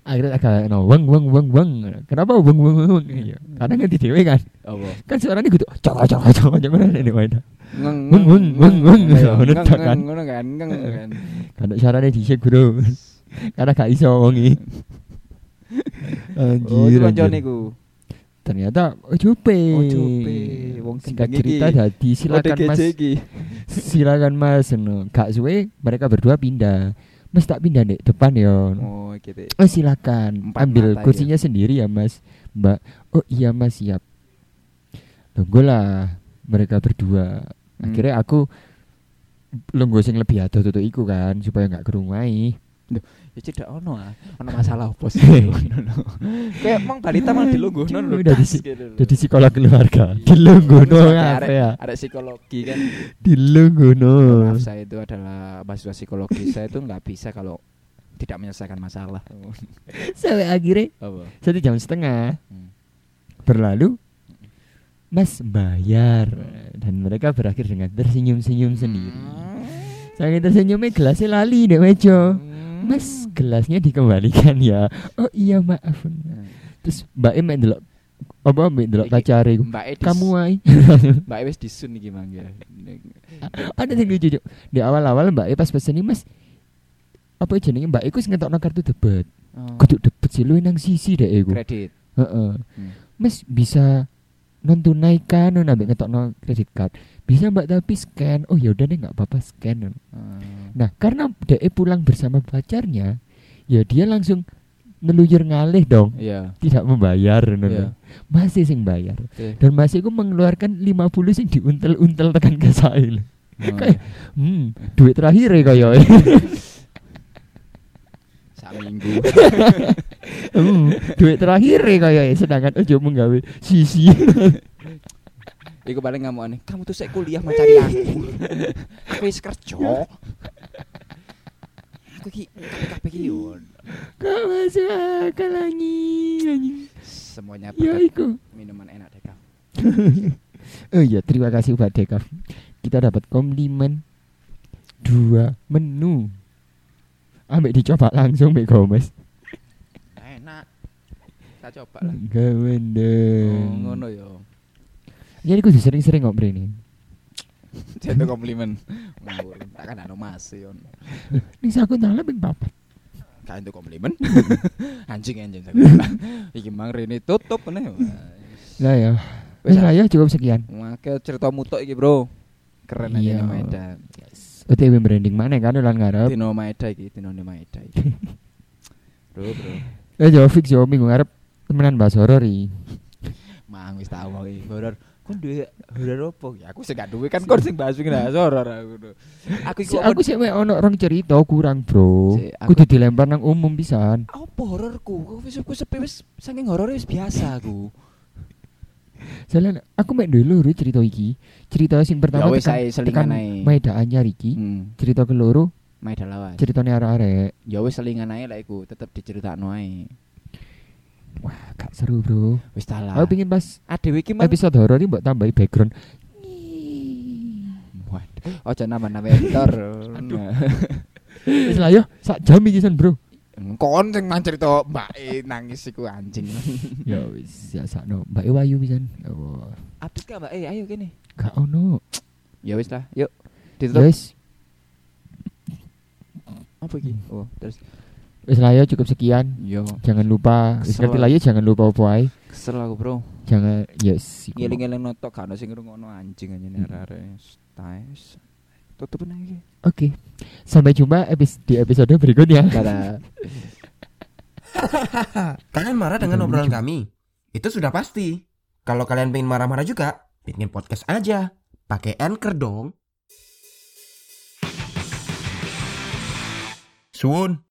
Speaker 3: Akhirnya agak no, weng weng weng weng. Kenapa weng weng weng? weng?
Speaker 4: Hmm.
Speaker 3: Iya, Karena nganti dewe kan.
Speaker 4: Apa?
Speaker 3: Kan suaranya gitu. Cok cok cok cok mana ini wadah.
Speaker 4: Ngeng
Speaker 3: Weng, weng, weng, weng.
Speaker 4: Ayo,
Speaker 3: Ngono
Speaker 4: ngeng,
Speaker 3: tak kan?
Speaker 4: ngeng, ngono kan. Ngeng kan.
Speaker 3: Karena suaranya dhisik, Bro. Karena gak iso wongi.
Speaker 4: Oh,
Speaker 3: Anjir.
Speaker 4: itu
Speaker 3: anjir.
Speaker 4: kancane ku.
Speaker 3: Ternyata oh Jope.
Speaker 4: Oh, Jope. Wong
Speaker 3: singkat
Speaker 4: gendeng
Speaker 3: cerita
Speaker 4: iki.
Speaker 3: dadi silakan
Speaker 4: OTGJ
Speaker 3: Mas.
Speaker 4: iki.
Speaker 3: silakan mas no. gak suwe mereka berdua pindah mas tak pindah dek depan ya
Speaker 4: Oh, gitu.
Speaker 3: oh silakan
Speaker 4: Empat mata
Speaker 3: ambil
Speaker 4: iya.
Speaker 3: kursinya sendiri ya mas mbak oh iya mas siap tunggulah mereka berdua
Speaker 4: Hmm.
Speaker 3: akhirnya aku lungguh sing lebih adoh tutup iku kan supaya nggak kerumai
Speaker 4: Ya cedak ono ah. Ono masalah opo sih? Ngono. Kayak emang balita mah dilungguhno lho.
Speaker 3: Aduh, dari
Speaker 4: tas
Speaker 3: Iya. si-
Speaker 4: gitu lho.
Speaker 3: jadi psikolog keluarga
Speaker 4: Iya.
Speaker 3: dilungguh no
Speaker 4: Terus ada-
Speaker 3: apa ya
Speaker 4: Ada psikologi kan.
Speaker 3: dilungguh no
Speaker 4: Maaf saya itu adalah mahasiswa psikologi. saya itu nggak bisa kalau tidak menyelesaikan masalah.
Speaker 3: sampai akhirnya
Speaker 4: Apa?
Speaker 3: satu jam setengah
Speaker 4: Hmm.
Speaker 3: berlalu Mas bayar dan mereka berakhir dengan tersenyum-senyum sendiri.
Speaker 4: Hmm.
Speaker 3: Saking tersenyumnya gelasnya lali dek mejo. Hmm. Oh,
Speaker 4: Hmm.
Speaker 3: Mas gelasnya dikembalikan ya. Oh iya maaf.
Speaker 4: Hmm.
Speaker 3: Terus Mbak E main delok apa main delok
Speaker 4: Iki,
Speaker 3: pacare iku.
Speaker 4: Mbak E Edis.
Speaker 3: Kamu ay.
Speaker 4: Mbak Edis disun iki ya. manggil.
Speaker 3: Ada yang lucu Cuk. Di awal-awal Mbak E pas pesen ini Mas apa jenenge Mbak E ku sing ngetokno kartu debit.
Speaker 4: Oh,
Speaker 3: Kudu debit sih lu nang sisi dek iku.
Speaker 4: Kredit.
Speaker 3: Heeh.
Speaker 4: Hmm.
Speaker 3: Mas bisa non tunai kan non ambek ngetokno kredit card. Bisa Mbak tapi scan. Oh ya udah deh nggak apa-apa scan.
Speaker 4: Oh.
Speaker 3: Nah, karena DE pulang bersama pacarnya, ya dia langsung neluyur ngalih dong,
Speaker 4: Iya.
Speaker 3: tidak membayar non.
Speaker 4: Iya.
Speaker 3: Masih sing bayar.
Speaker 4: Oke.
Speaker 3: Dan masih ku mengeluarkan 50 sing diuntel-untel tekan ke saya.
Speaker 4: Oh.
Speaker 3: Kayak, hmm, duit terakhir ya kaya.
Speaker 4: Sak minggu.
Speaker 3: Hmm, duit terakhir ya kaya. Sedangkan ojo menggawe sisi.
Speaker 4: Iku paling ngamuk aneh. Kamu tuh saya kuliah mencari aku. aku wis kerja. aku ki kabeh ki yo.
Speaker 3: Kau masuk akal anjing, anjing.
Speaker 4: Semuanya
Speaker 3: Ya
Speaker 4: berkat
Speaker 3: iku.
Speaker 4: minuman enak deh kau.
Speaker 3: Oh iya, terima kasih Pak Dekaf. Kita dapat komplimen dua menu. Ambek dicoba langsung Mbak Gomez.
Speaker 4: Enak. Kita coba lah.
Speaker 3: Enggak Hmm.
Speaker 4: Oh,
Speaker 3: bener.
Speaker 4: ngono yo.
Speaker 3: Jadi Ya, kudu sering-sering kok ini.
Speaker 4: Jatuh komplimen. Ngawur. Tak kan ono mas yo.
Speaker 3: Ning aku nang ping papat.
Speaker 4: Gak entuk komplimen. anjing anjing saya bilang. Iki mang rene tutup meneh.
Speaker 3: Lah ya.
Speaker 4: Wis
Speaker 3: Wis lah ya cukup sekian.
Speaker 4: Maka cerita mutok iki, Bro. Keren aja
Speaker 3: Iya.
Speaker 4: Medan.
Speaker 3: Yes. OTW branding mana kan lan ngarep.
Speaker 4: Dino Maeda iki, Dino Maeda iki. bro, bro.
Speaker 3: Eh yo fix yo minggu ngarep temenan bahas horor iki.
Speaker 4: Mang wis tau kok iki horor. Ku duwe horor opo? Ya aku sing gak duwe kan kon sing bahas iki nah horor aku. bro. Aku iku
Speaker 3: Si, aku sih mek ono orang cerita kurang, Bro.
Speaker 4: Si, aku-
Speaker 3: Kudu dilempar nang umum pisan.
Speaker 4: apa hororku? Aku wis aku sepi wis saking horor wis biasa aku.
Speaker 3: Soalnya aku mek dulu cerita iki. Cerita sing pertama
Speaker 4: Ya wis
Speaker 3: tekan-
Speaker 4: ae
Speaker 3: tekan
Speaker 4: selingan ae.
Speaker 3: Maeda anyar iki.
Speaker 4: Hmm,
Speaker 3: Cerita keloro
Speaker 4: Maeda lawas.
Speaker 3: ceritane arek-arek.
Speaker 4: Ya wis selingan ae lah iku, tetep diceritakno ae.
Speaker 3: Wah, gak seru, Bro.
Speaker 4: Wis ta lah.
Speaker 3: Aku pingin pas
Speaker 4: Ah dhewe iki mang
Speaker 3: episode horor iki mbok tambahi background.
Speaker 4: Waduh, Ojo nama-nama editor. Aduh.
Speaker 3: Wis lah yo, sak jam iki san, Bro.
Speaker 4: Kon sing nang cerita mbake nangis iku anjing.
Speaker 3: Ya wis, ya sakno. Mbak Wayu pisan. Ya Allah.
Speaker 4: Update gak Mbak? Eh, ayo kene.
Speaker 3: Gak ono.
Speaker 4: Ya wis lah, yuk. Ditutup.
Speaker 3: Wis,
Speaker 4: Apa iki? Oh, terus
Speaker 3: wis lah yo cukup sekian.
Speaker 4: yo
Speaker 3: Jangan lupa, wis
Speaker 4: Kesel
Speaker 3: ngerti
Speaker 4: aku.
Speaker 3: lah yo jangan lupa opo ae.
Speaker 4: kesel aku, Bro.
Speaker 3: Jangan yes. iku.
Speaker 4: Ngeling-eling notok gak ono sing ngrungokno anjing anjing
Speaker 3: Hmm.
Speaker 4: arek-arek. Stais. Tutup nang iki.
Speaker 3: Oke. Sampai jumpa epis- di episode berikutnya.
Speaker 4: Dadah.
Speaker 2: Kalian marah dengan obrolan kami? Itu sudah pasti. Kalau kalian pengen marah-marah juga, bikin podcast aja. Pakai Anchor dong. Suun.